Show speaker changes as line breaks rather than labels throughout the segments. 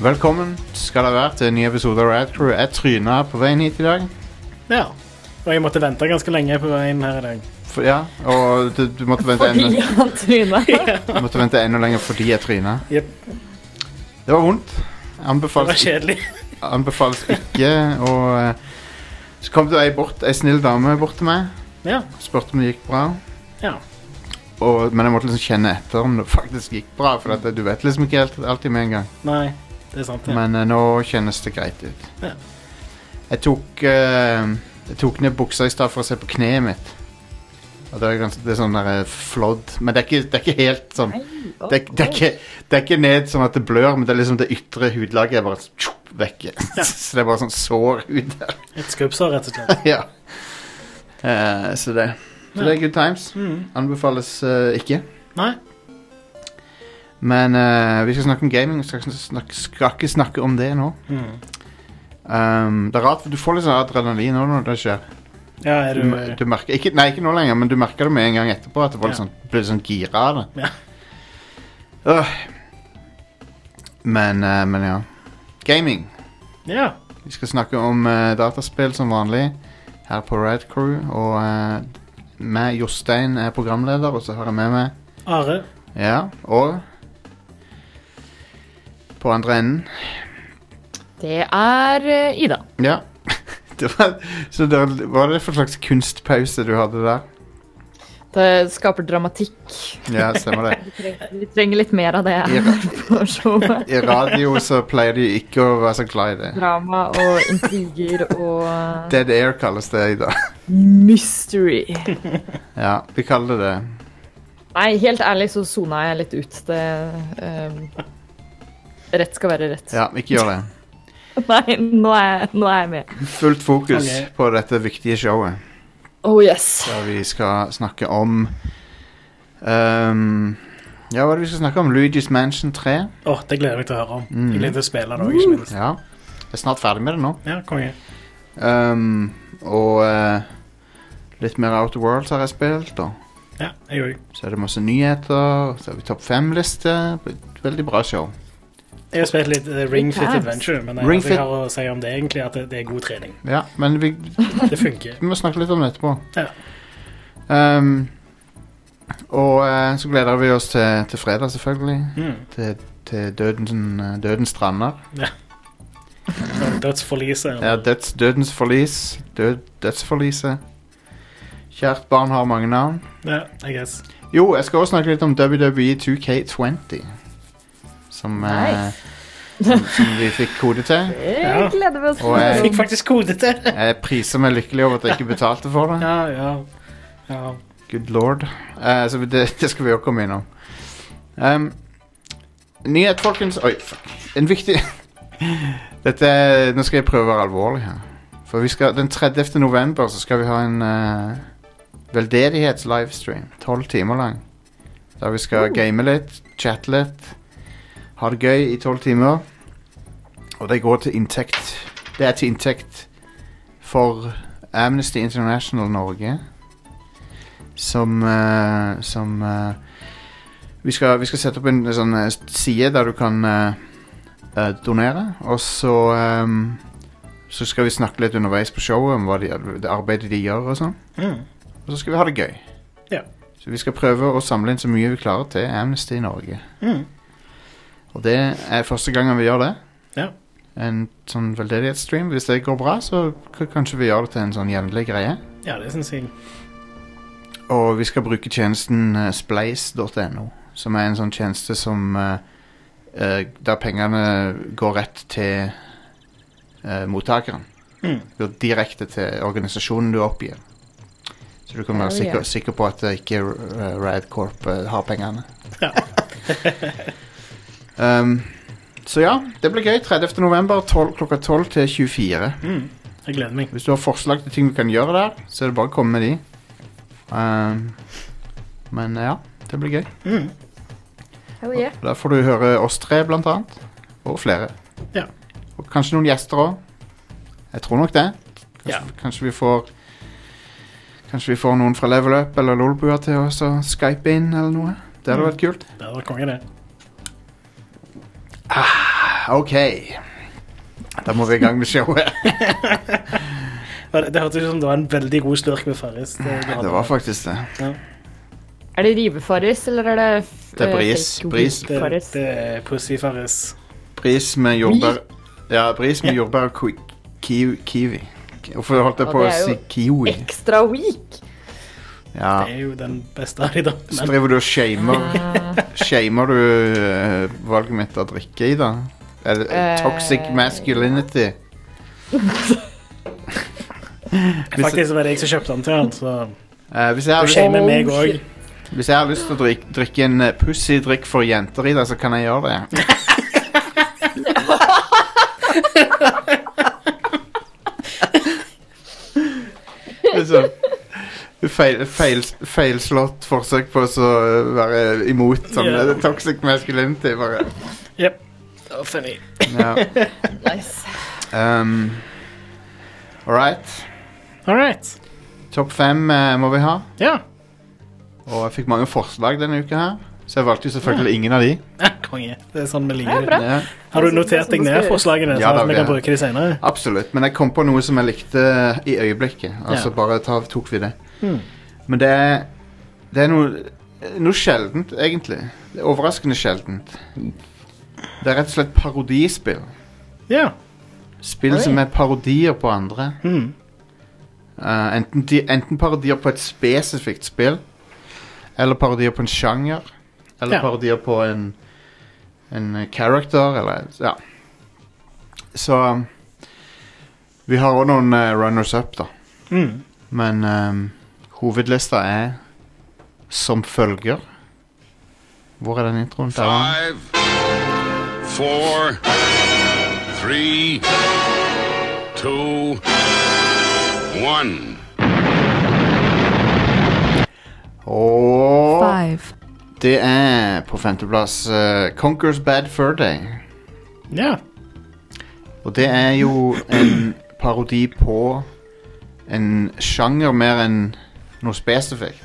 Velkommen skal dere være til en ny episode av Rad Crew. Jeg tryna på veien hit i dag.
Ja. Og jeg måtte vente ganske lenge på veien her i dag.
For, ja, og du, du måtte, vente
Fordi
enda,
han tryna.
du måtte vente enda lenger fordi jeg tryna.
Jep.
Det var vondt.
Det var
Anbefales,
kjedelig.
anbefales ikke å eh, Så kom det ei, bort, ei snill dame bort til meg.
Ja.
Spurte om det gikk bra.
Ja.
Og, men jeg måtte liksom kjenne etter om det faktisk gikk bra, for at du vet liksom ikke helt alltid med en gang.
Nei, det er sant. Ja.
Men eh, nå kjennes det greit ut.
Ja.
Jeg tok eh, Jeg tok ned buksa i stad for å se på kneet mitt. Og det er, ganske, det er sånn der eh, flådd Men det er ikke, det er ikke helt sånn det, er- det, er ikke, det er ikke ned sånn at det blør, men det er liksom det ytre hudlaget er bare tjopp, vekke. Så det er bare sånn sår hud der.
Et skubbsår, rett og slett.
ja. Eh, så det Så det er good times.
Mm.
Anbefales eh, ikke.
Nei.
Men eh, vi skal snakke om gaming. Vi skal, ikke snakke- skal ikke snakke om det nå.
Mm.
Um, det er rart, for du får litt sånn adrenalin nå når det skjer.
Ja, er
Du,
du
du merker, ikke, nei, ikke nå lenger, men du merker det med en gang etterpå. At du bare
Ja.
sånn, blir litt sånn gira av det.
Ja.
Øh. Men, eh, men ja. Gaming.
Ja.
Vi skal snakke om eh, dataspill som vanlig her på Red Crew. Og eh, meg, Jostein, er programleder, og så har jeg med meg
Are.
Ja, og På andre enden
Det er eh, Ida.
Ja. Det var, så det var, var det for slags kunstpause du hadde der?
Det skaper dramatikk.
Ja, stemmer det.
Vi trenger, vi trenger litt mer av det
I,
her
ra-
på showet.
I radio så pleier de ikke å være så glad i det.
Drama og intriger og
Dead air kalles det i dag.
mystery.
Ja, de kaller det det.
Nei, helt ærlig så sona jeg litt ut. Det ehm, Rett skal være rett.
Ja, ikke gjør det.
Nei, nå er, jeg- nå er jeg med.
Fullt fokus
Ok.
på dette viktige showet,
Oh yes.
der vi skal snakke om ehm, Ja, hva er det vi skal snakke om? Luigi's Mansion 3?
Å, det gleder jeg meg til å høre om.
Mm.
Jeg gleder meg til å spille det òg, ikke minst.
Ja. Jeg er snart ferdig med det nå.
Ja, konge.
Ehm, og eh, litt mer Outer Worlds har jeg spilt, og
Ja, jeg òg.
Så er det masse nyheter, så har vi topp fem-liste. Veldig bra show.
Jeg har spilt litt eh, Ring Fit
Yes.
Adventure, men eh,
Ring
alt jeg
Fit-
har å si om det, egentlig, er at det- det er god trening.
Ja, men vi,
Det funker.
vi må snakke litt om det etterpå.
Ja.
Ehm, og eh, så gleder vi oss til, til fredag, selvfølgelig.
Mm.
Til, til dødens, eh, dødens strander.
Og Sånn Dødsforliset.
Ja, døds, dødens forlis. Død, dødsforliset. Kjært barn har mange navn.
Ja, I guess.
Jo, jeg skal også snakke litt om E WWE 2K20. Som, eh, som, som vi fikk kode til.
Jeg gleder meg
Og jeg-
Jeg fikk
sånn.
faktisk kode til.
Jeg priser meg lykkelig over at jeg ikke betalte for det.
Ja, ja. ja.
Good lord. Eh, så det, det skal vi også komme innom. Um, nyhet, folkens. Oi, fuck. En viktig Dette er- Nå skal jeg prøve å være alvorlig her. For vi skal, den 30. november så skal vi ha en eh, veldedighets-livestream. Tolv timer lang. Der vi skal game litt, chatte litt, ha det gøy i tolv timer. Og det går til inntekt Det er til inntekt for Amnesty International Norge som, eh, som eh, vi, skal, vi skal sette opp en sånn eh, side der du kan eh, eh, donere, og så ehm, så skal vi snakke litt underveis på showet om hva de, det arbeidet de gjør og sånn.
Mm.
Og så skal vi ha det gøy.
Ja.
Så vi skal prøve å samle inn så mye vi klarer til Amnesty i Norge.
Mm.
Og det er første gangen vi gjør det.
Ja.
En sånn veldedighetsstream. Hvis det går bra, så k kanskje vi gjør det til en sånn jevnlig greie.
Ja, det sånn syns jeg.
Og vi skal bruke tjenesten eh, splice.no, som er en sånn tjeneste som eh, eh, Der pengene går rett til eh, mottakeren.
Mm.
Går direkte til organisasjonen du oppgir. Så du kan være
Oh,
sikker,
yeah.
sikker på at eh, ikke eh, Radcorp eh, har pengene.
Ja.
um, så ja, det blir gøy. 30. november 12, klokka 12 til 24.
Mm. Jeg gleder meg.
Hvis du har forslag til ting vi kan gjøre der, så er det bare å komme med de. Ehm, men ja, det blir gøy.
Mm.
Hell yeah.
Der får du høre oss tre, blant annet. Og flere.
Ja.
Og kanskje noen gjester òg. Jeg tror nok det. Kanskje,
Ja.
kanskje vi får Kanskje vi får noen fra Level Up eller Lolbua til oss og skype inn eller noe. Det hadde
Mm.
vært kult.
Det hadde vært konge, det.
Ah, OK. Da må vi i gang med showet.
Ja, Det, det hørtes ut som det var en veldig god slurk med Farris. Det, du hadde.
Det var faktisk det.
Ja,
Er det rivefarris, eller er det f-
Det er
eh,
bris.
fake
Bris.
det,
Farris?
det er Pussy Farris.
Bris med jordbær Ja, bris med jordbær og ki kiwi. kiwi. Hvorfor holdt jeg
Ja,
på å
det er
si
jo
kiwi?
Ekstra weak!
Ja.
Det er jo den beste av de, da.
Så
Men
driver du og shamer
Eh,
Shamer du eh, valget mitt å drikke i, da? Eller eh, toxic
Eh,
masculinity? hvis,
faktisk var det jeg som kjøpte den til han, så
eh, hvis, jeg har
du
lyst,
shamer
Oh,
meg òg.
shit.
hvis jeg har lyst til å drikke, drikke en eh, pussy drikk for jenter i det, så kan jeg gjøre det. Liksom feil, feil, Feilslått forsøk på å så være imot sånn
Ja.
eh, toxic masculinity, bare.
Yep. Det var funny.
Ja.
Nice.
Um, All right.
All right.
Topp fem eh, må vi ha.
Ja.
Og jeg fikk mange forslag denne uka her. Så jeg valgte jo selvfølgelig ingen av de.
ja. Konge. Det er sånn vi
Ja,
liker det.
bra.
Ja,
Har du notert deg ned forslagene,
Ja,
sånn
da,
at
vi-
vi kan bruke de senere?
absolutt. Men jeg kom på noe som jeg likte i øyeblikket. Altså
Ja.
bare ta, tok vi det.
Mhm.
Men det er, det er noe, noe sjeldent, egentlig. Det er overraskende sjeldent. Det er rett og slett parodispill.
Ja.
Spill
Oi.
som er parodier på andre.
Mm.
Eh, enten, de, enten parodier på et spesifikt spill, eller parodier på en sjanger, eller
Ja.
parodier på en, en eh, character, eller Ja. Så um, Vi har òg noen eh, runners-up, da.
Mm.
Men um, hovedlista er som følger Hvor er den introen? Der var den.
Five, four, three, two, one.
Og
Five,
det er på femteplass eh, Conquers Bad Fur Day.
Ja.
Og det er jo en parodi på en sjanger mer enn noe spesifikt.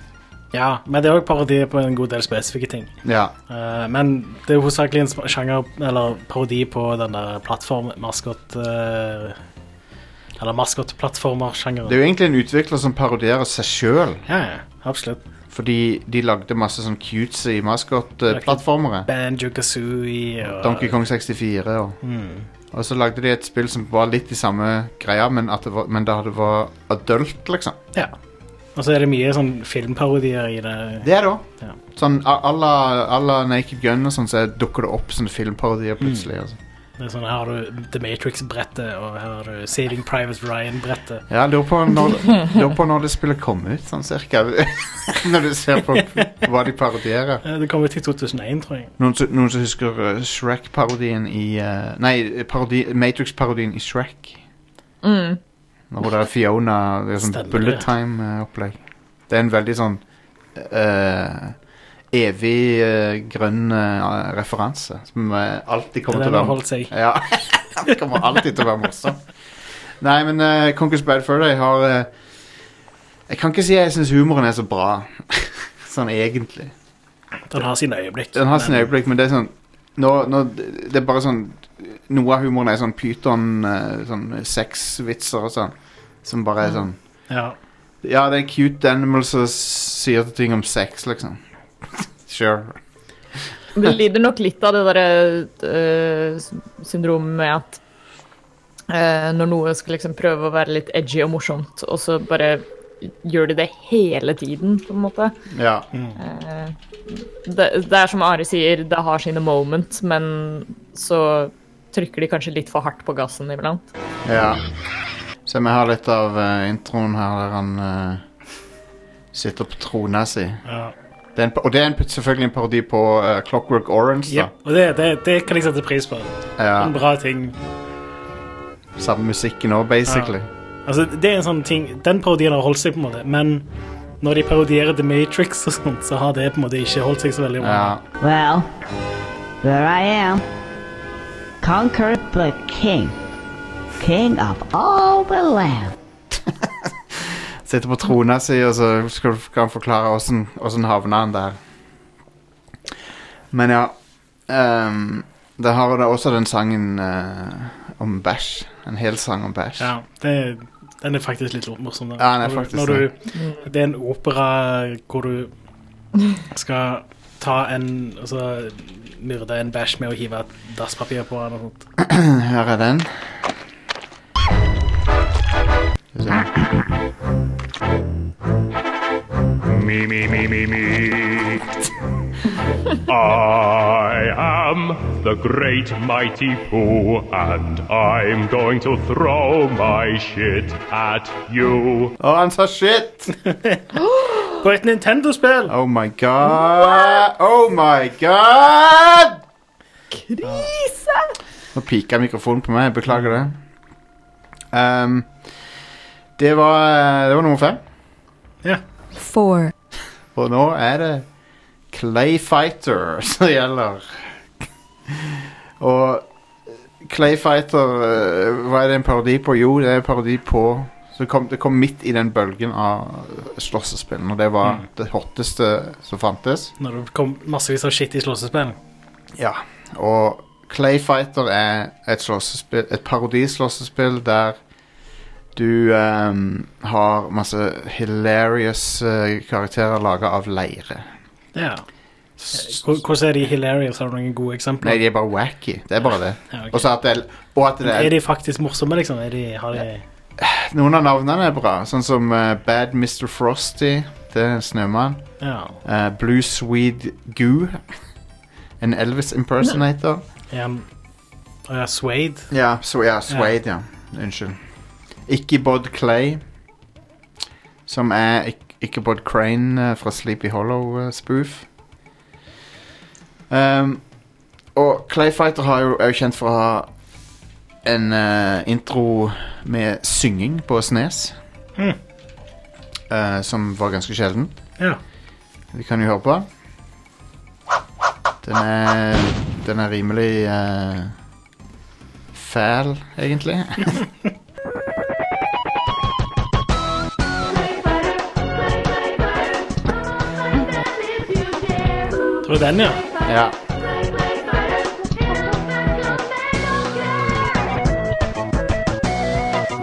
ja. Men det er òg parodier på en god del spesifikke ting.
Ja.
Eh, men det er jo hovedsakelig en sp- sjanger, eller parodi på den der plattform-maskot... eh, eller maskot-plattformer-sjangeren.
Det er jo egentlig en utvikler som parodierer seg sjøl,
Ja, ja, absolutt.
fordi de lagde masse sånn cutesy maskot-plattformere.
Banjo-Kazooie og
Donkey Kong 64 og
Mm.
Og så lagde de et spill som var litt i samme greia, men, at det var, men da det var adult, liksom.
Ja. Og så er det mye sånn filmparodier i det.
Det er det òg.
Ja.
Sånn à à la à la Naked Gun og sånn, så dukker det opp sånne filmparodier plutselig. Altså.
det er sånn, her har du The Matrix-brettet, og her har du Saving Private Ryan-brettet.
Ja, jeg lurer på når, lurer på når det spillet kom ut, sånn cirka. når du ser på hva de parodierer.
Eh, Det kom ut i 2001, tror jeg.
Noen, som- noen som husker eh, Shrek-parodien i eh, Nei, parodi, Matrix-parodien i Shrek.
Mm.
Når det er Fiona Det er sånn
Stemmer
bullet
det.
time-opplegg. Det er en veldig sånn eh, evig eh, grønn eh, referanse som eh, alltid
Det
kommer
er
til å
den har
være
holdt seg.
Ja. Det kommer alltid til å være morsom. Nei, men uh, Conquest Bad Fur Day har eh, Jeg kan ikke si jeg syns humoren er så bra. sånn egentlig.
Den har sine øyeblikk.
Den har sine
men-
øyeblikk, men det er sånn nå, nå, Det er bare sånn Noe av humoren er sånn pyton, eh, sånn sexvitser og sånn, som bare er sånn
Ja.
Ja, det er cute animals som sier ting om sex, liksom. Sure.
Det lider nok litt av det derre eh, syndromet med at eh, når noe skal liksom prøve å være litt edgy og morsomt, og så bare gjør de det hele tiden, på en måte.
Ja.
Eh, det, det er som Are sier, det har sine moment, men så trykker de kanskje litt for hardt på gassen iblant.
Ja. Se om jeg har litt av eh, introen her der han eh, sitter på trona si.
ja.
Det er en, pa- og det er en, selvfølgelig en parodi på eh, Clockwork Orange, da.
Jep, Og det, det, det kan jeg sette pris på. En
Ja,
bra ting.
samme musikken òg, basically.
Altså, det er en sånn ting Den parodien har holdt seg, på en måte, men når de parodierer The Matrix og sånt, så har det på en måte ikke holdt seg så veldig bra.
Ja.
Well, there I am. Conquered the king. King of all the land.
Sitter på trona si, og så skal, skal han forklare åssen, åssen havna han der. Men ja ehm, Da har du også den sangen eh, om bæsj. En hel sang om bæsj.
Ja, det, den er faktisk litt morsom. da.
Ja, den er
Når du-
faktisk
når du, det er en opera hvor du skal ta en Altså myrde en bæsj med å hive et dasspapir på den og sånt.
Her er den. Skal vi se.
Me, me, me, me, me. I am the great mighty Pooh, and I'm going to throw my shit at you.
Å, han sa shit!
På et Nintendo-spill!
Oh my god! Oh my god!
Krise!
Nå pika mikrofonen på meg. Beklager det. Ehm, det, var, det var nummer fem.
Ja.
four,
Og nå er det Clay Fighter som gjelder. Og Clay Fighter eh, Hva er det en parodi på? Jo, det er en parodi på så det, kom, det kom midt i den bølgen av slåssespill, og det var
Mm.
det hotteste som fantes.
Når det kom massevis av shit i slåssespill.
Ja, og Clay Fighter er et, slåssespill- et parodislåssespill der du ehm, har masse hilarious eh, karakterer laga av leire.
Ja.
S-
Hvor- Hvordan er de hilarious? Har du noen gode eksempler?
Nei, de er bare wacky. Det er bare det.
Ja, ok.
Og så at det, er- og at det
Er
er,
de faktisk morsomme, liksom? Er de, har de
noen av navnene er bra, sånn som eh, Bad Mr. Frosty. Det er en snømann.
Ja.
Eh, Blue Swede Goo. En Elvis impersonator.
Er han Å ja, Suede?
Ja, så, ja Suede, ja. Unnskyld. Ikke Bod Clay, som er Ik- ikke Bod Crane eh, fra Sleepy eh, Hollow-spoof. um, og Clayfighter har jo, er jo kjent for å ha en eh, intro med synging på Snes.
Mhm.
Eh, som var ganske sjelden.
Ja.
Vi kan jo høre på. Den er, den er rimelig eh, fæl, egentlig.
Det var den, ja.
ja.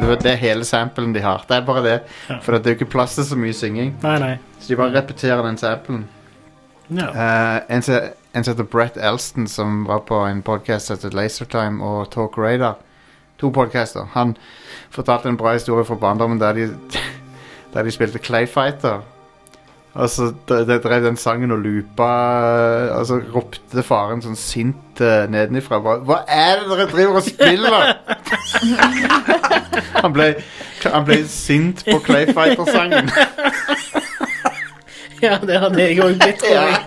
Det var det hele samplen de har. Det er bare det.
Ja.
For det er jo ikke plass til så mye synging.
Nei, nei.
Så de bare repeterer den samplen.
Ja.
Eh, en som en som heter Brett Elston, som var på en podcast som heter Lasertime og Talk Radar. To podcaster. Han fortalte en bra historie fra barndommen der de, der de spilte Clayfighter. Og så d- d- drev den sangen og loopa eh, Og så ropte faren sånn sint eh, nedenifra. Hva, hva er det dere driver og spiller?! han, ble, han ble sint på Clayfighter-sangen.
ja, det hadde jeg òg blitt, tror jeg.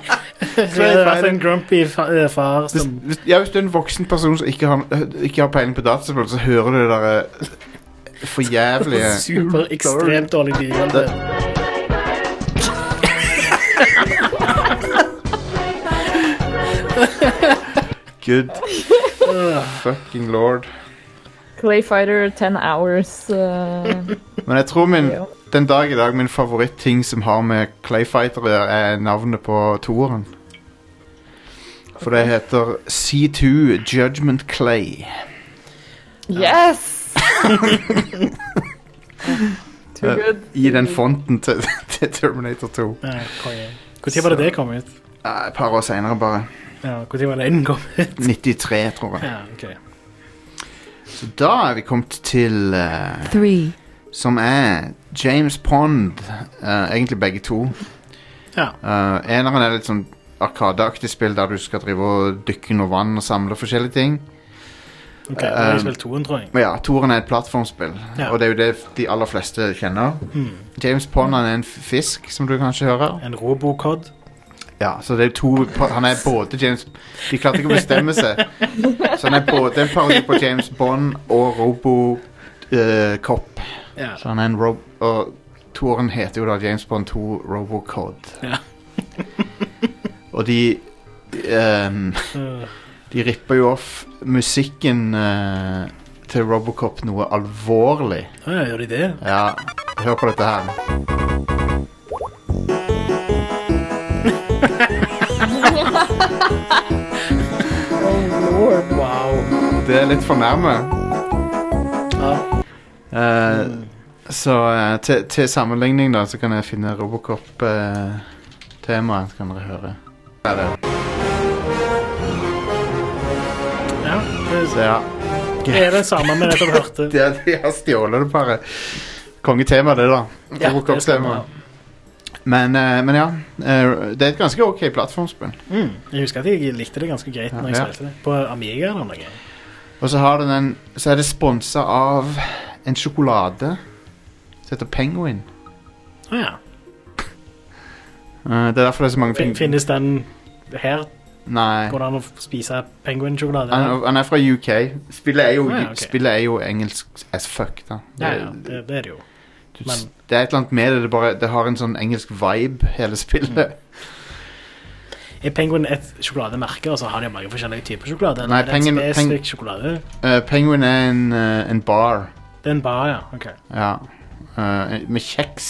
Det hadde vært en grumpy fa eh, far
Hvis,
som
hvis, ja, hvis du er en voksen person som ikke har, ikke har peiling på dataspill, så hører du det der eh, for jævlige
Super ekstremt dårlig bilde.
Good fucking lord.
Clayfighter 10 hours. eh,
Men jeg tror min,
Ja.
den dag i dag min favorittting som har med Clayfighter å gjøre, er navnet på toeren. For det heter C2 Judgment Clay.
yes! Too good.
I den fonten til, til Terminator 2.
Nei, konge. Når var det det kom ut?
Eh, Et par år seinere, bare.
Ja, Når var det den kom ut?
93, tror jeg.
Ja, ok.
Så da er vi kommet til eh,
three,
som er James Pond. eh, egentlig begge to.
Ja.
Uh, eneren er litt sånn arkadeaktig spill der du skal drive og dykke under vann og samle forskjellige ting.
ok, Da har jeg spilt toen, tror jeg.
Men ja, toeren er et plattformspill,
Ja.
og det er jo det de aller fleste kjenner. James Pond han er en fisk, som du kanskje hører.
Hmm. En robocod.
Ja, så det er to Han er både James De klarte ikke å bestemme seg. Så han er både en parodi på James Bond og eh, Robocop.
Ja.
Så han er en rob... Og toeren heter jo da James Bond 2 Robocod.
Ja.
og de ehm,
Øh,
De ripper jo off musikken eh, til Robocop noe alvorlig.
ja, gjør de det?
Ja, hør på dette her.
Lord, wow.
Det er litt for nærme.
Ja.
Eh, så eh, til, til sammenligning, da, så kan jeg finne Robocop-temaet. så kan dere høre. Ja, det.
ja.
Så ja.
Det er det samme vi nettopp hørte.
De, de har stjålet det bare. Kongetema, det, da.
Ja, det stemmer.
Robocop-temaet. Men, eh, men ja. eh, det er et ganske OK plattformspill.
Mm. Jeg husker at jeg likte det ganske greit når jeg
Ja.
spilte det. På Amiga eller noe.
Og så, har den en, så er det sponsa av en sjokolade som heter Penguin.
Å Ah, ja.
Eh, det er derfor det er så mange
Fin-
peng-
Finnes den her?
Nei.
Går det an å f- spise penguinsjokolade?
Han, han er fra UK. Spillet er jo,
Ah, ja, ok.
spillet er jo engelsk as fuck, da. Det,
Ja, ja, det, det er det jo.
du,
men-
det er et eller annet med det. Det, bare, det har en sånn engelsk vibe, hele spillet.
Er penguin et sjokolademerke, og så har de mange forskjellige typer sjokolade? Eller
Nei,
er det en
Penguin-
spesifikk sjokolade?
Eh, Penguin er en, eh, en bar.
Det er en bar, ja. ok.
Ja. Eh, med kjeks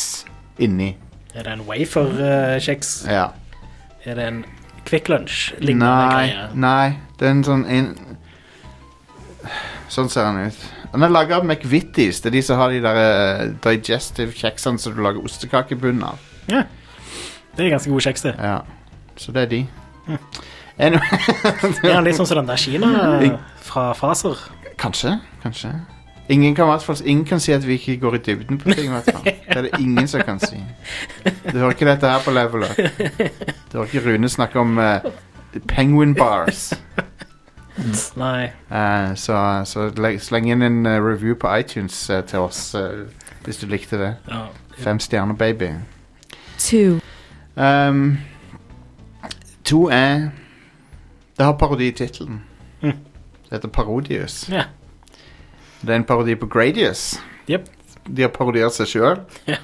inni.
Er det en wafer-kjeks?
Ja.
Er det en Quick Lunch-lignende
Nei,
greie?
nei. Det er en sånn en, Sånn ser han ut. Han er laga av McVitties. Det er de som har de der eh, digestive kjeksene som du lager ostekakebunn av.
Ja. Det er ganske god kjeks, det.
Ja. Så det er de. Anyway.
Hm. Er han litt sånn som den der Kina fra Faser?
Kanskje, kanskje. Ingen kan, i hvert fall, ingen kan si at vi ikke går i dybden på ting. i hvert fall. Det er det ingen som kan si. Du hører ikke dette her på level up. Du hører ikke Rune snakke om eh, penguin bars.
Nei.
Eh, så så le- sleng inn en eh, review på iTunes eh, til oss eh, hvis du likte det.
Ja.
Fem stjerner, baby.
Two.
Um, to er Det har parodi i tittelen.
Mm.
Det heter Parodius.
Ja.
Det er en parodi på Gradius.
Jep.
De har parodiert seg sjøl.
Ja.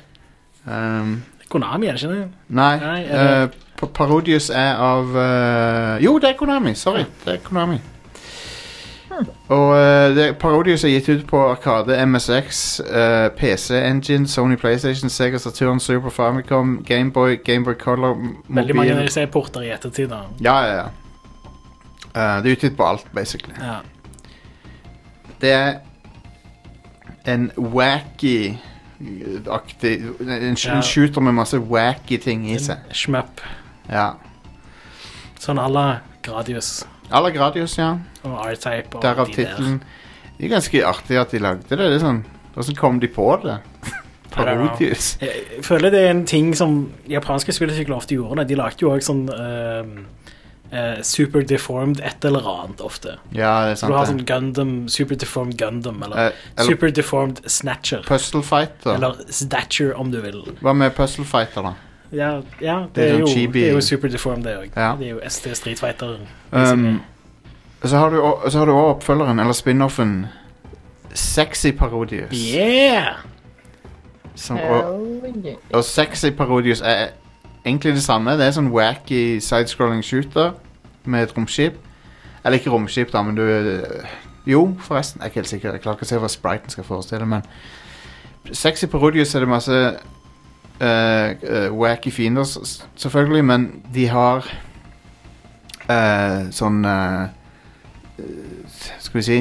Um,
Konami, er det ikke det?
nei,
Nei, er
eh, pa- Parodius er av eh, Jo, det er Konami. Sorry. Det er Konami. Og eh, det, Parodius er gitt ut på Arkade, MSX, eh, PC Engine, Sony PlayStation, Sega Saturn, Super Famicom, Gameboy, Gameboy Color, m-
Veldig mange
mobil
ser porter i ettertid, da.
Ja, ja, ja. Eh, det er utgitt på alt, basically.
Ja.
Det er en wacky-aktig en, en sh-
Ja.
en shooter med masse wacky ting i seg.
Shmup.
Ja.
Sånn à la Gradius
Aller Gradius, ja.
og R-Type og
Derav
de der.
tittelen. Det er ganske artig at de lagde det. det er sånn, Hvordan kom de på det?
I don't know.
Parodius.
Jeg jeg føler det er en ting som japanske spillutviklere ofte gjorde. da. De lagde jo òg sånn eh, eh, super deformed et eller annet ofte.
Ja, det er
Du har
sant.
sånn
det.
Gundam, super deformed Gundam, eller
Eh, eller-
super deformed Snatcher.
Puzzle Fighter.
Eller Stature, om du vil.
Hva med Puzzle Fighter, da?
Ja, ja det,
Det er
er
sånn
jo,
chibi.
det er jo super deformed, det òg.
Ja.
Det er jo ST Street Fighter.
Um, så har du o- så har du òg oppfølgeren, eller spin-offen, Sexy Parodius.
Yeah!
Som, og,
yeah.
Og sexy Parodius er egentlig det samme. Det er sånn wacky sidescrolling shooter med et romskip. Eller ikke romskip, da, men du eh, Jo, forresten. Jeg er ikke helt sikker. Jeg klarer ikke å se hva spriten skal forestille, men Sexy Parodius er det masse eh, eh, wacky fiender, s- s- selvfølgelig, men de har eh, sånn eh, eh, Skal vi si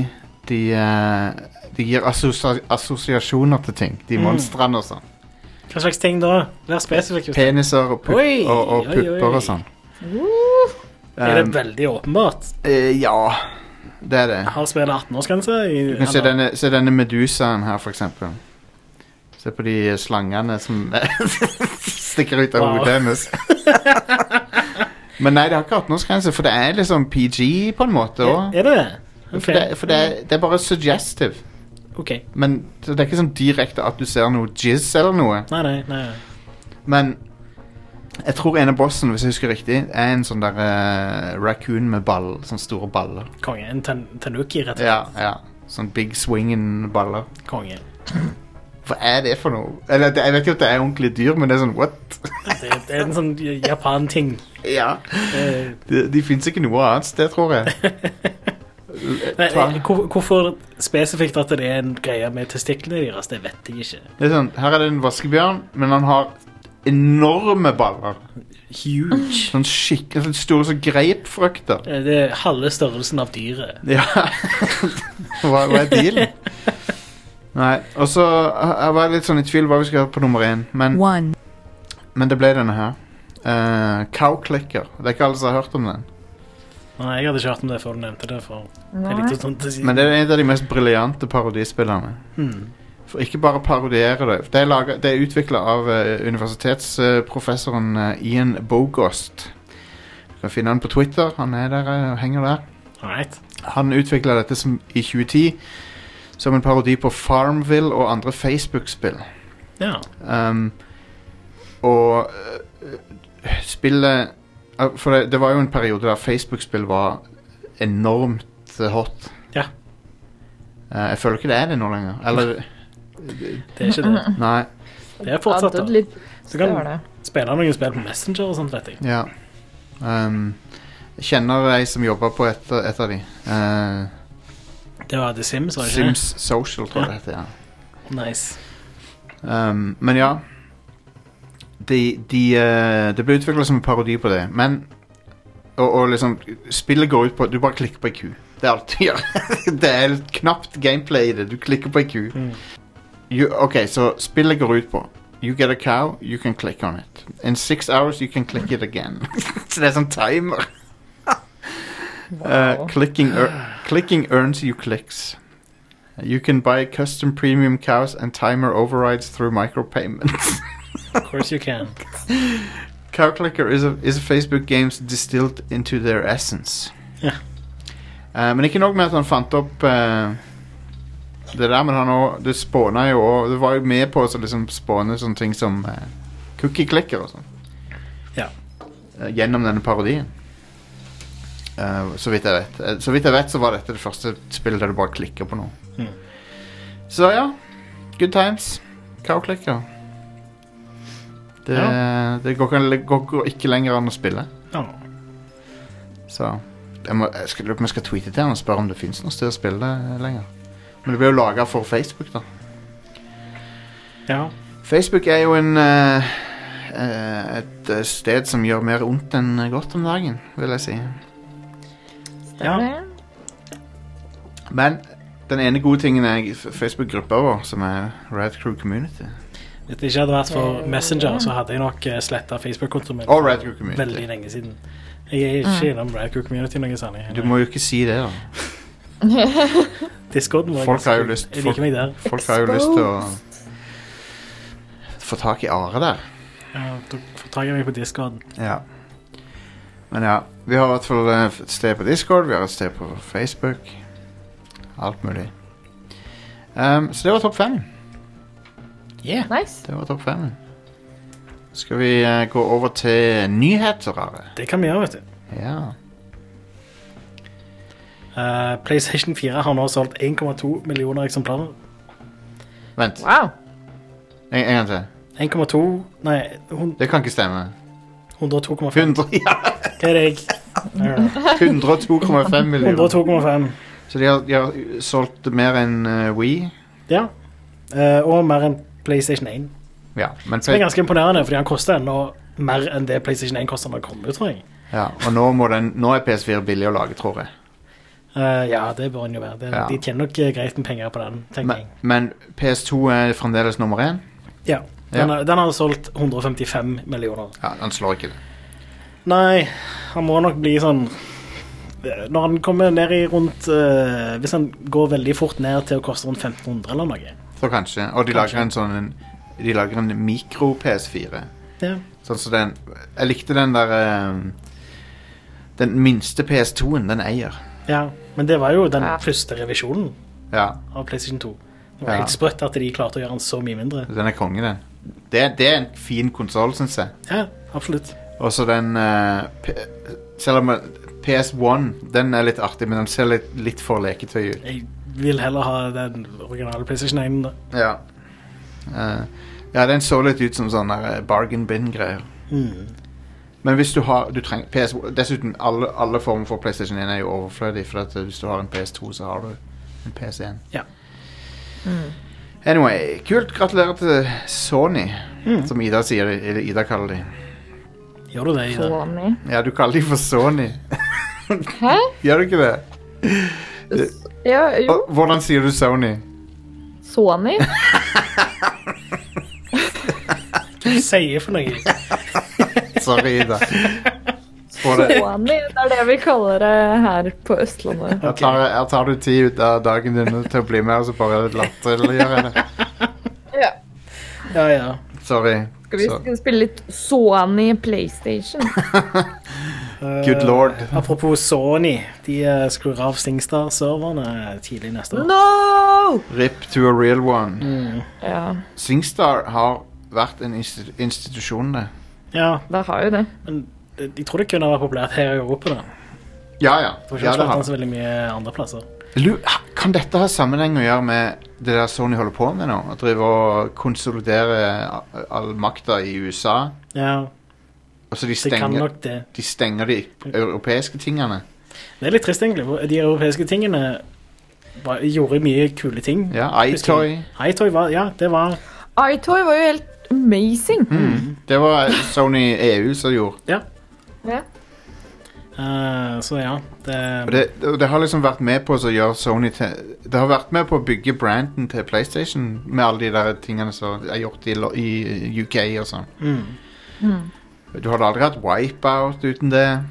De, eh, de gir assosia assosiasjoner til ting. De
Mm.
monstrene og sånn.
Hva slags ting da? Vær spesifikk. Jostein.
Peniser og, pup og,
Oi,
og
oi,
pupper
oi.
og sånn.
Er det
Um,
veldig åpenbart?
eh, ja, det er det.
Har spillet 18-årsgrense? i-
Du kan se
eller-
denne, se denne medusaen her, for eksempel. Se på de slangene som stikker ut av
Wow.
hodet hennes. Men nei, det har ikke 18-årsgrense, for det er liksom PG på en måte òg.
Er, er det det? Ok.
For, det, for det, er, det er bare suggestive.
OK.
Men så det er ikke sånn direkte at du ser noe jizz eller noe.
Nei, nei. nei.
Men jeg tror en av bossen, hvis jeg husker riktig, er en sånn der eh, raccoon med ball, sånne store baller.
Konge. En ten tanuki, rett og slett.
Ja, ja. Sånn big swinging baller.
Konge.
Hva er det for noe? Eller det- jeg vet jo at det er ordentlige dyr, men det er sånn what?
Det, det er en sånn j- Japan-ting.
ja.
Eh,
De, de fins ikke noe annet sted, tror jeg.
nei, eh,
Tvang.
hvor- Hvorfor spesifikt at det er en greie med testiklene deres, det vet jeg ikke.
Det er sånn, Her er det en vaskebjørn, men han har enorme baller.
Huge.
Sånn skikkelig sånn store som grapefrukter.
Eh, Det er halve størrelsen av dyret.
Ja. hva, hva er dealen? Nei. Og så jeg jeg var litt sånn i tvil hva vi skal ha på nummer én, men,
One.
men det ble denne her. Uh, Cowclicker. Det er ikke alle som har hørt om den.
Nei, jeg hadde ikke hørt om det før du nevnte det. For jeg likte sånt å si.
Men det er en av de mest briljante parodispillene.
Hmm.
For ikke bare parodiere det. Det er, laget, det er utvikla av eh, universitetsprofessoren eh, Ian Bogost. Du kan finne han på Twitter. Han er der eh, og henger der.
Alright.
Han utvikla dette som, i 2010 som en parodi på Farmville og andre Facebook-spill.
Ja.
Um, og eh, spillet eh, For det, det var jo en periode der Facebook-spill var enormt eh, hot.
Ja.
Eh, jeg føler ikke det er det nå lenger. Eller
Det er ikke det.
Nei.
Det er fortsatt, da.
Ja, litt,
Så kan-
det var det.
Spiller noen spill på Messenger og sånt, vet jeg.
Ja. Um, jeg kjenner ei som jobber på et, et av de. Eh,
Det var The Sims, var det ikke?
Sims Social, tror jeg det heter. Ja.
Nice.
Um, men ja. De, de, eh, det ble utvikla som en parodi på det. Men og, og liksom Spillet går ut på Du bare klikker på ei ku. Det er alt du gjør. det er knapt gameplay i det. Du klikker på ei ku.
Mm.
You, ok, så spillet går ut på You get a cow, you can click on it. In six hours, you can click it again. så det er sånn timer. Uh, clicking, ear- clicking earns you clicks. You can buy custom premium cows and timer overrides through micropayments.
Of course you can.
Cow Clicker is, a, is a Facebook games distilled into their essence.
Ja.
Eh, men ikke nok med at han fant opp eh, det der, men han òg Det spåna jo òg Det var jo med på å så liksom spåne sånne ting som eh, cookie clicker og sånn.
Ja.
Eh, gjennom denne parodien. Eh, så vidt jeg vet. Eh, så vidt jeg vet, så var dette det første spillet der du bare klikker på noe.
Mhm.
Så ja. Good times. Cow Clicker. Det, det går, ikke- går, går ikke lenger an å spille.
Ja.
Så jeg, må, jeg skal, lurer på om jeg skal tweete til han og spørre om det fins noe sted å spille det eh, lenger. Men det ble jo laga for Facebook, da.
ja.
Facebook er jo en eh, eh, et eh, sted som gjør mer ondt enn godt om dagen, vil jeg si.
Stemmer.
Men den ene gode tingen er Facebook-gruppa vår, som er Rad Crew Community.
Hvis det ikke hadde vært for Messenger, så hadde jeg nok sletta Facebook-kontoen min
Og Rad Crew Community.
veldig lenge siden. Jeg er ikke innom Radcrew Community noe særlig.
Du må jo ikke si det, da.
Discorden var
Folk har jo
ganske-
lyst-
Jeg liker meg der.
Folk har jo lyst til å få tak i Are der.
Ja, da får tak i meg på Discorden.
Ja. Men ja, vi har i hvert fall eh, et sted på Discord, vi har et sted på Facebook. Alt mulig. Ehm, så det var topp fem.
Yeah.
Nice.
Det var topp fem. Skal vi eh, gå over til nyheter, Are?
Det kan vi gjøre, vet du.
Ja.
Eh, PlayStation 4 har nå solgt 1,2 millioner eksemplarer.
Vent,
Wow.
en, en gang til.
1,2 Nei, hun-
Det kan ikke stemme.
102,5.
100, ja,
Det er deg. Ja.
102,5 millioner.
102,5.
Så de har, de har uh, solgt mer enn eh, Wii.
Ja. Eh, og mer enn PlayStation 1.
Ja, men
Det er ganske imponerende, fordi han koster ennå mer enn det PlayStation 1 koster når det kommer ut, tror jeg.
ja, og nå, må den, nå er PS4 billig å lage, tror jeg.
Eh, ja, det bør han jo være. Det,
Ja.
De tjener nok eh, greit med penger på den, tenker
Men,
jeg.
men PS2 er fremdeles nummer én.
Ja.
Ja.
Den, har- den har solgt 155 millioner.
Ja, han slår ikke det.
Nei, han må nok bli sånn eh, Når han kommer ned i rundt eh, Hvis han går veldig fort ned til å koste rundt 1500 eller noe.
Så kanskje. Og de
Kanskje.
lager en sånn en, De lager en mikro PS4.
Ja.
Sånn som den Jeg likte den der eh, Den minste PS2-en den eier.
Ja, men det var jo den
Ja.
første revisjonen
Ja,
av PlayStation 2. Det var
Ja.
helt sprøtt at de klarte å gjøre den så mye mindre.
den er konge, den. Det, det er en fin konsoll, syns jeg.
Ja, absolutt.
Og så den eh, P Selv om eh, PS1 Den er litt artig, men den ser litt, litt for leketøy ut.
Jeg vil heller ha den originale PlayStation 1. da.
Ja. Eh, ja, den så litt ut som sånn der, eh, bargain bin-greier.
Mm.
Men hvis du har du trenger, PS, Dessuten, alle, alle former for PlayStation 1 er jo eh, overflødig, for at hvis du har en PS2, så har du en PS1.
Ja.
Anyway, kult. Gratulerer til Sony, som Ida sier, eller Ida kaller de.
Gjør du det, Ida?
Sony.
Ja, du kaller de for Sony.
Hæ?
Gjør du ikke det?
S- Ja, jo.
Og, hvordan sier du Sony?
Sony?
Hva du sier for noe?
Sorry, Ida. Få det.
Sony, det er det vi kaller det her på Østlandet.
Her tar, her tar du tid ut av dagen din til å bli med, og så bare latterliggjør jeg det.
Ja.
Ja, ja.
Sorry.
Skal vi
Så-
sk- spille litt Sony PlayStation?
Good lord.
Eh, Apropos Sony, de eh, skrur av Singstar-serverne tidlig neste år.
No!
Rip to a real
Mm.
one.
Ja,
Singstar har vært en insti- institusjon, det.
Ja,
det har jo det.
men de- de tror det kunne vært populært her i Europa, da.
Ja, ja.
Får
ja
ikke
det
ja,
har.
så veldig mye andre plasser.
Lu- Kan dette ha sammenheng å gjøre med det der Sony holder på med nå? Å drive og konsolidere a- all makta i USA?
Ja,
Og så Altså, de
det kan
stenger,
nok Mm. det.
de stenger de europeiske tingene?
Det er litt trist, egentlig. for De europeiske tingene var, gjorde mye kule ting.
Ja, iToy.
Hightoy var Ja, det var
iToy var jo helt amazing.
Mm.
Det var Sony EU som gjorde.
Ja.
Ja.
eh, så ja.
Og
Det,
det, og det har liksom vært med på å så gjøre Sony til Det har vært med på å bygge branden til PlayStation med alle de der tingene som er gjort i, lo- i UK og sånn.
mm,
Du hadde aldri hatt Wipeout uten det.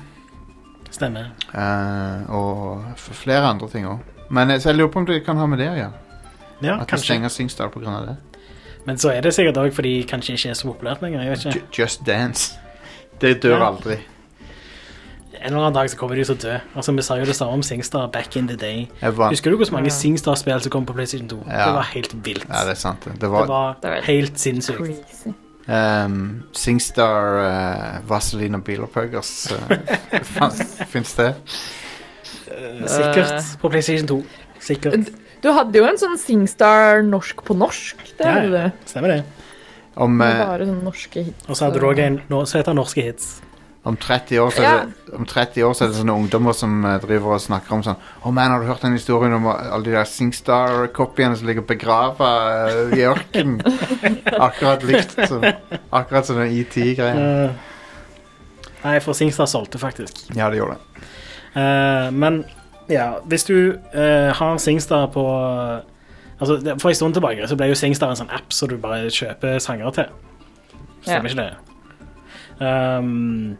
stemmer.
eh, og f- flere andre ting òg. Men jeg- så jeg lurer på om det kan ha med det å gjøre.
Ja,
At de
kanskje.
stenger Singstar pga. det.
Men så er det sikkert òg fordi det kanskje ikke er så populært lenger. jeg vet ikke.
Ju- Just Dance. Det dør
Ja.
aldri.
En eller annen dag så kommer de til å dø. Altså, Vi sa jo det samme om Singstar back in the day.
Jeg vant.
Husker du hvor mange Singstar-spill som kom på PlayStation 2?
Ja.
Det var helt vilt.
Ja, det er sant. Det, det
det
var
var
Det var-
helt sinnssykt.
Crazy.
um, Singstar uh, Vaseline og Bilopphuggers. Uh, Fins det?
Eh,
Eh.
Sikkert på PlayStation 2. Sikkert.
Du hadde jo en sånn Singstar norsk på norsk. Det
Ja,
hadde du.
stemmer det.
Om,
Det var
eh,
Bare sånne norske hits.
Og så hadde du òg en no- som heter Norske hits.
om 30 år så er det, om 30 år så er det sånne ungdommer som eh, driver og snakker om sånn Å, man, har du hørt den historien om alle de der Singstar-kopiene som ligger begrava i ørkenen? Akkurat likt som Akkurat som den E ET-greia.
Eh, nei, for Singstar solgte faktisk.
Ja, det gjorde det.
Eh, men ja, hvis du eh, har Singstar på Altså, det- For en stund tilbake så ble jo Singstar en sånn app som du bare kjøper sanger til. Stemmer ikke det? Ehm,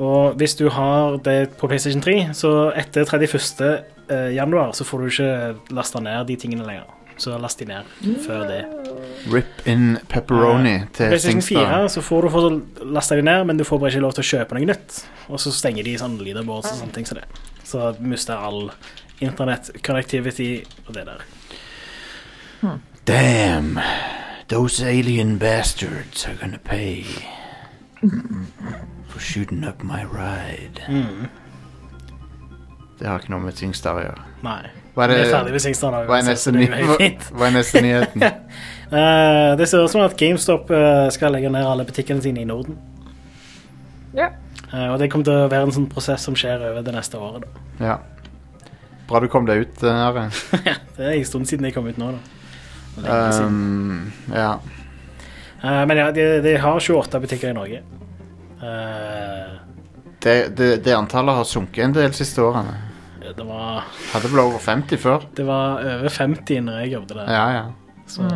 og hvis du har det på PlayStation 3, så etter 31. eh, januar så får du ikke lasta ned de tingene lenger. Så last de ned før det.
Rip in pepperoni
Eh,
til
PlayStation
Singstar.
4 så får du fortsatt lasta de ned, men du får bare ikke lov til å kjøpe noe nytt. Og så stenger de sånn leaderboards og sånne ting som det. Så mister all internett-connectivity og det der.
Damn, those alien bastards are gonna pay for shooting up my ride. Mm. Det har ikke noe med Singstar å gjøre.
Nei.
Hva er,
Vi er ferdig
det,
med Singstar nå.
hva er
så
neste,
det
ny
er jo helt fint.
hva er neste nyheten?
Eh, det ser ut som at GameStop eh, skal legge ned alle butikkene sine i Norden.
Ja.
Eh, og det kommer til å være en sånn prosess som skjer over det neste året. Da.
Ja. Bra du kom deg ut, eh, Are.
Det er en stund siden jeg kom ut nå, da. Lenge siden.
Um, ja.
Eh, men ja, de, de har 28 butikker i Norge. Eh,
Det, det, det antallet har sunket en del siste årene.
det var
Hadde vel over 50 før.
Det var over 50 når jeg jobbet der.
Ja, ja.
Så,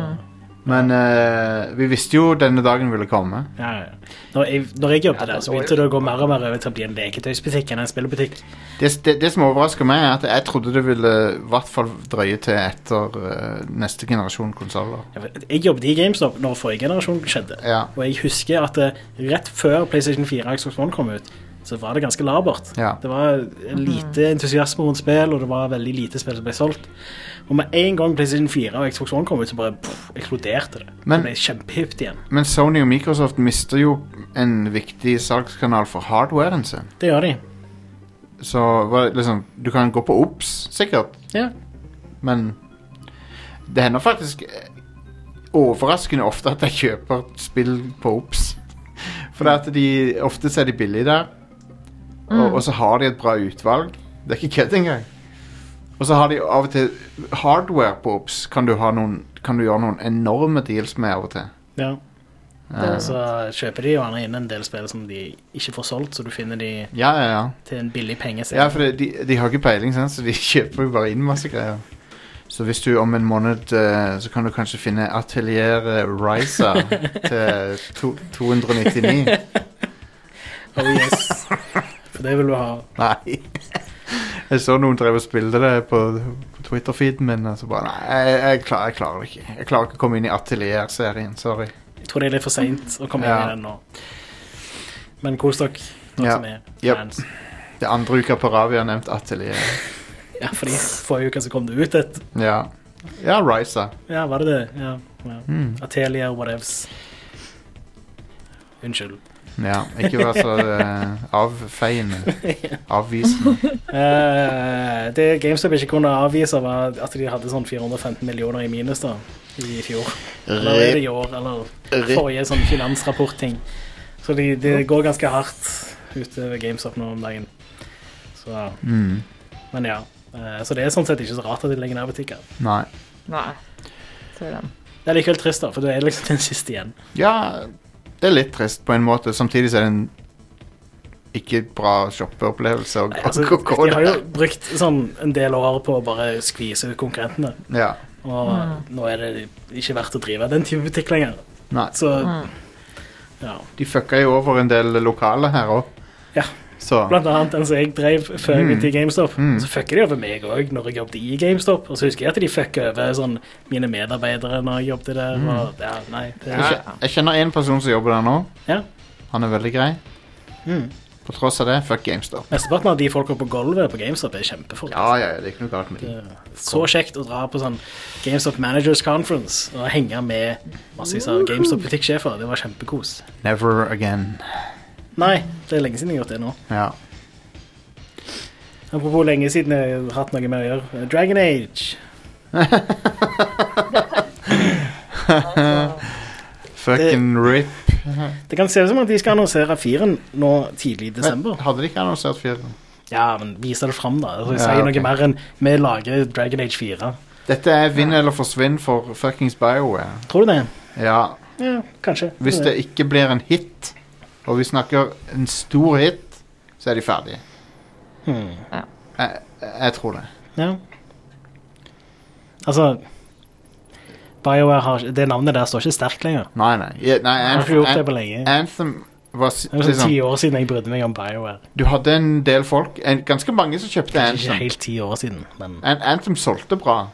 Men eh, vi visste jo denne dagen ville komme.
ja, ja. Når, jeg, når jeg jobbet der, så begynte det å gå mer og mer over til å bli en leketøysbutikk enn en spillebutikk.
Det, det, det som overrasker meg, er at jeg trodde det ville i hvert fall drøye til etter eh, neste generasjon konsoller.
Jeg vet- Jeg jobbet i GameStop når forrige generasjon skjedde.
Ja.
Og jeg husker at eh, rett før PlayStation 4 og Xbox One kom ut, så var det ganske labert.
Ja.
Det var lite entusiasme rundt spill, og det var veldig lite spill som ble solgt. Og med en gang PlayStation 4 og Xbox One kom ut, så bare pff, eksploderte det.
Men-
det ble kjempehypt igjen.
Men Sony og Microsoft mister jo en viktig salgskanal for hardwaren sin.
Det gjør de.
Så hva- liksom, du kan gå på OBS, sikkert.
Ja.
Men det hender faktisk eh, overraskende ofte at jeg kjøper spill på OBS. For det at de, ofte så er de billige der, og, og så har de et bra utvalg. Det er ikke kødd engang. Og så har de av og til hardware-bobs. Kan, du ha noen- kan du gjøre noen enorme deals med av og til.
Ja.
Eh,
Så kjøper de jo gjerne inn en del spill som de ikke får solgt, så du finner de
ja, ja, ja.
til en billig penge. selv.
Ja, for det, de, de har ikke peiling, sant? så de kjøper jo bare inn masse greier. Så hvis du om en måned eh, Så kan du kanskje finne Atelier Risa til to, 299.
Oh, yes. For det vil du ha.
Nei. Jeg så noen drev og spilte det på, på Twitter-feeden min. Og så bare Nei, jeg, jeg, klarer, jeg klarer det ikke. Jeg klarer ikke å komme inn i Atelier-serien. Sorry.
Jeg tror det er litt for seint å komme
Ja.
inn i den nå. Men kos dere, dere
Ja.
som er
Yep.
fans.
Det andre uka på rad vi har nevnt Atelier.
Ja, fordi forrige uke så kom det ut et
Ja. Ja, Risa.
Ja, var det det? Ja. ja. Atelier, whatevs. Unnskyld.
Ja, ikke vær så uh, avfeiende. Avvisende.
Eh, det GameStop ikke kunne avvise, var at de hadde sånn 415 millioner i minus da, i fjor. Eller er det i år, eller forrige sånn finansrapport-ting. Så det de går ganske hardt ute ved GameStop nå om dagen. Så,
Mm.
men ja. Eh, så det er sånn sett ikke så rart at de legger ned butikker.
Nei.
Nei. Ser den.
Det er likevel trist, da, for du er det liksom den siste igjen.
Ja, det er litt trist på en måte. Samtidig så er det en ikke bra shoppeopplevelse å
Nei,
gå-
altså,
gå gå
de har jo
der.
brukt sånn en del år på å bare skvise ut konkurrentene,
Ja.
og nå er det ikke verdt å drive den type butikk lenger.
Nei,
Så
Mm.
ja.
de fucka jo over en del lokale her òg.
Ja.
Så
Blant annet den som jeg drev før jeg
Mm.
begynte i GameStop.
Mm.
Så fucka de over meg òg når jeg jobbet i GameStop. Og så husker jeg at de fucka over sånn, mine medarbeidere når jeg jobbet der.
Mm.
Og, ja, nei, det,
jeg, jeg kjenner én person som jobber der nå.
Ja.
Han er veldig grei.
Mm.
På tross av det, fuck GameStop.
Mesteparten av de folka på gulvet på GameStop er kjempefolk.
Ja, ja, ja, det er ikke noe galt med de.
Det er Så kjekt å dra på sånn GameStop Managers Conference og henge med massevis av GameStop-butikksjefer. Det var kjempekos.
Never again.
Nei, det er lenge siden jeg har gjort det nå.
Ja.
Apropos lenge siden jeg har hatt noe med å gjøre. Dragon Age.
Fucking rip.
Det kan se ut som at de skal annonsere firen nå tidlig i desember.
Hadde de ikke annonsert fireren?
Ja, men vis det fram, da. Altså, jeg
Ja,
sier
ok.
noe mer enn vi lager Dragon Age 4.
Dette er vinn eller forsvinn for fuckings BioWare.
Tror du det?
Ja,
Ja, kanskje.
Hvis det ikke blir en hit, og vi snakker en stor hit, så er de ferdige.
Hmm.
Jeg, jeg tror det.
Ja. Altså BioWare har ikke- Det navnet der står ikke sterkt lenger.
Nei, nei. Ja, nei
Jeg har ikke
Anthem,
gjort det på lenge.
An- Anthem var s-
Det er sånn ti
liksom,
år siden jeg brydde meg om BioWare.
Du hadde en del folk, en, ganske mange som kjøpte
Ikke
Anthem.
helt ti år siden, men
An Anthem solgte bra.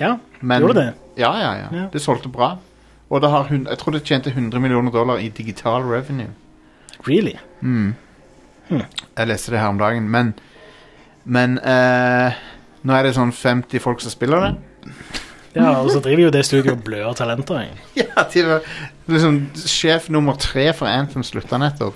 Ja,
Men,
gjorde det?
Ja, ja, ja.
Ja.
Det solgte bra. Og det har hun, jeg tror det tjente 100 millioner dollar i digital revenue.
Really?
Jeg leste det her om dagen, men Men eh, nå er det sånn 50 folk som spiller det.
Ja, og så driver jo det studioet og blør talenter. jeg.
Ja, til og med liksom, Sjef nummer tre for Anthem slutta nettopp.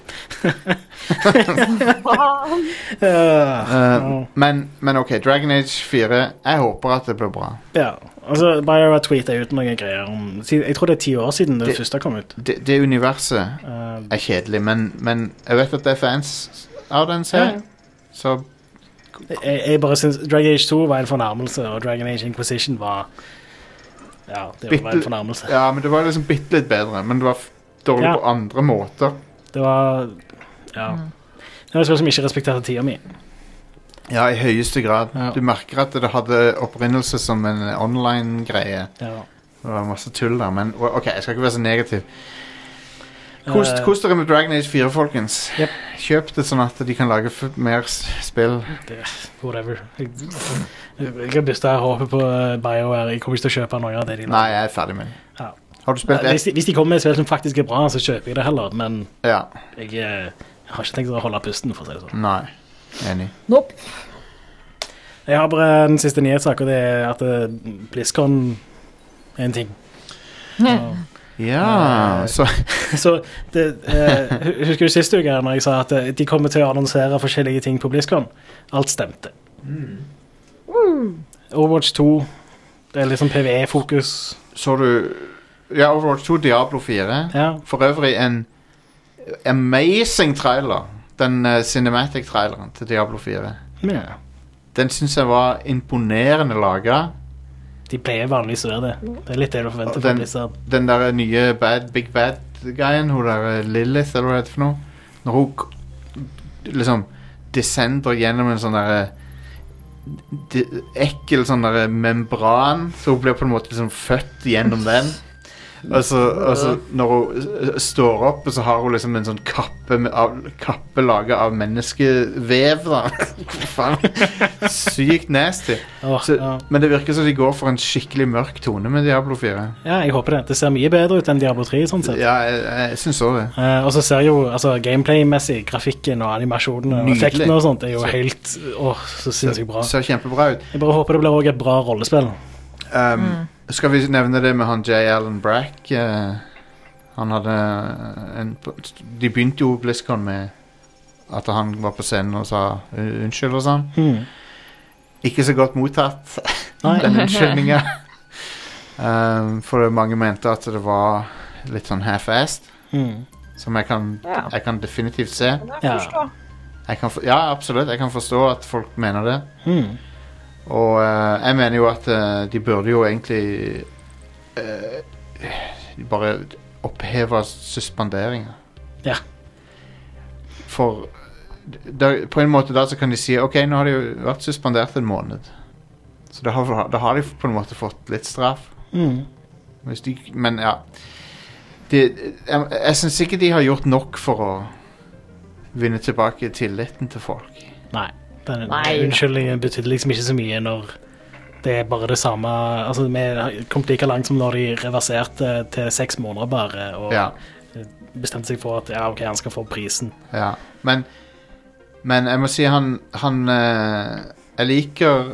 Ja.
Eh, men, men OK, Dragon Age 4 Jeg håper at det blir bra.
ja. Altså, BioWare tweeta ut noen greier om siden- Jeg tror det er ti år siden det,
Det-
første kom ut.
Det, det universet
Eh,
er kjedelig, men, men jeg vet at det er fans av den serien. Så
Jeg, jeg bare synes Dragon Age 2 var en fornærmelse, og Dragon Age Inquisition var Ja, det var en
Bitte-
fornærmelse.
Ja, men det var liksom bitte litt bedre. Men det var f- dårlig
Ja.
på andre måter.
Det var Ja. Det var et spill som ikke respekterte tida mi.
Ja, i høyeste grad.
Ja.
Du merker at det hadde opprinnelse som en online-greie.
Ja.
Det var masse tull der, men OK, jeg skal ikke være så negativ. Kos, kos dere med Dragon Age 4, folkens.
Eh, Jep.
Kjøp det sånn at de kan lage f mer s- spill.
Eh, det, whatever. Jeg, jeg har bysta håpet på eh, BioWare. Jeg kommer ikke til å kjøpe noe av det de
Nei,
lager.
jeg er ferdig med det.
Ja.
Har du
Eh,
spilt
Hvis,
ett?
de- hvis de kommer med et spill som faktisk er bra, så kjøper jeg det heller, men
Ja.
jeg, eh, har ikke tenkt å holde pusten, for å si det sånn.
Nei. Enig.
Nope.
Jeg har bare en siste nyhetssak, og det er at eh, BlizzCon er en ting. Og-
Ja
Eh,
Så
Så det, eh, hu- Husker du sist uke her når jeg sa at eh, de kommer til å annonsere forskjellige ting på BlizzCon? Alt stemte.
Mm.
Overwatch 2. Det er litt sånn PVE-fokus.
så du Ja, Overwatch 2 Diablo 4.
Ja.
For øvrig en amazing trailer. Den eh, cinematic traileren til Diablo 4.
Ja.
Den syns jeg var imponerende laga.
De pleier vanligvis å være det. Det er litt det du forventer. fra
Den,
Blizzard.
den der nye bad, big bad-guyen, hun der eh, Lilith, eller hva det heter for noe. Når hun k- liksom descender gjennom en sånn derre de- ekkel sånn der membran, så hun blir på en måte liksom født gjennom den. Og så, og så når hun s- s- står opp, så har hun liksom en sånn kappe, med- av, kappe laget av menneskevev, da. Hva faen? Sykt nasty.
Åh,
Så,
ja.
Men det virker som de går for en skikkelig mørk tone med Diablo 4.
ja, jeg håper det. Det ser mye bedre ut enn Diablo 3. sånn sett.
Ja, jeg, jeg syns òg det.
Eh, og så ser jo altså, gameplay-messig grafikken og animasjonene og
Nydelig.
effektene og sånt er jo
Så-
helt åh, så
Det
sinnssykt bra.
ser kjempebra ut.
Jeg bare håper det blir også et bra rollespill.
Um, Skal vi nevne det med han J. Allen Brack? eh, han hadde en De begynte jo BlizzCon med at han var på scenen og sa "Un- unnskyld og sånn.
Hmm.
Ikke så godt mottatt,
Nei,
den unnskyldninga. um, for mange mente at det var litt sånn half-assed,
hmm.
som jeg kan,
Ja.
jeg kan definitivt se.
Ja.
Jeg kan for, ja, absolutt. Jeg kan forstå at folk mener det.
Hmm.
Og eh, jeg mener jo at eh, de burde jo egentlig eh, bare oppheve suspenderinger.
Ja.
For da, på en måte da så kan de si OK, nå har de jo vært suspendert en måned. Så da har, da har de på en måte fått litt straff.
Hmm.
Hvis de, men ja de, Jeg, jeg syns ikke de har gjort nok for å vinne tilbake tilliten til folk.
Nei. Den
Nei.
unnskyldningen betydde liksom ikke så mye når det er bare det samme Altså, vi kom like langt som når de reverserte til seks måneder bare, og
Ja.
bestemte seg for at ja, OK, han skal få prisen.
Ja, men Men jeg må si han Han eh, Jeg liker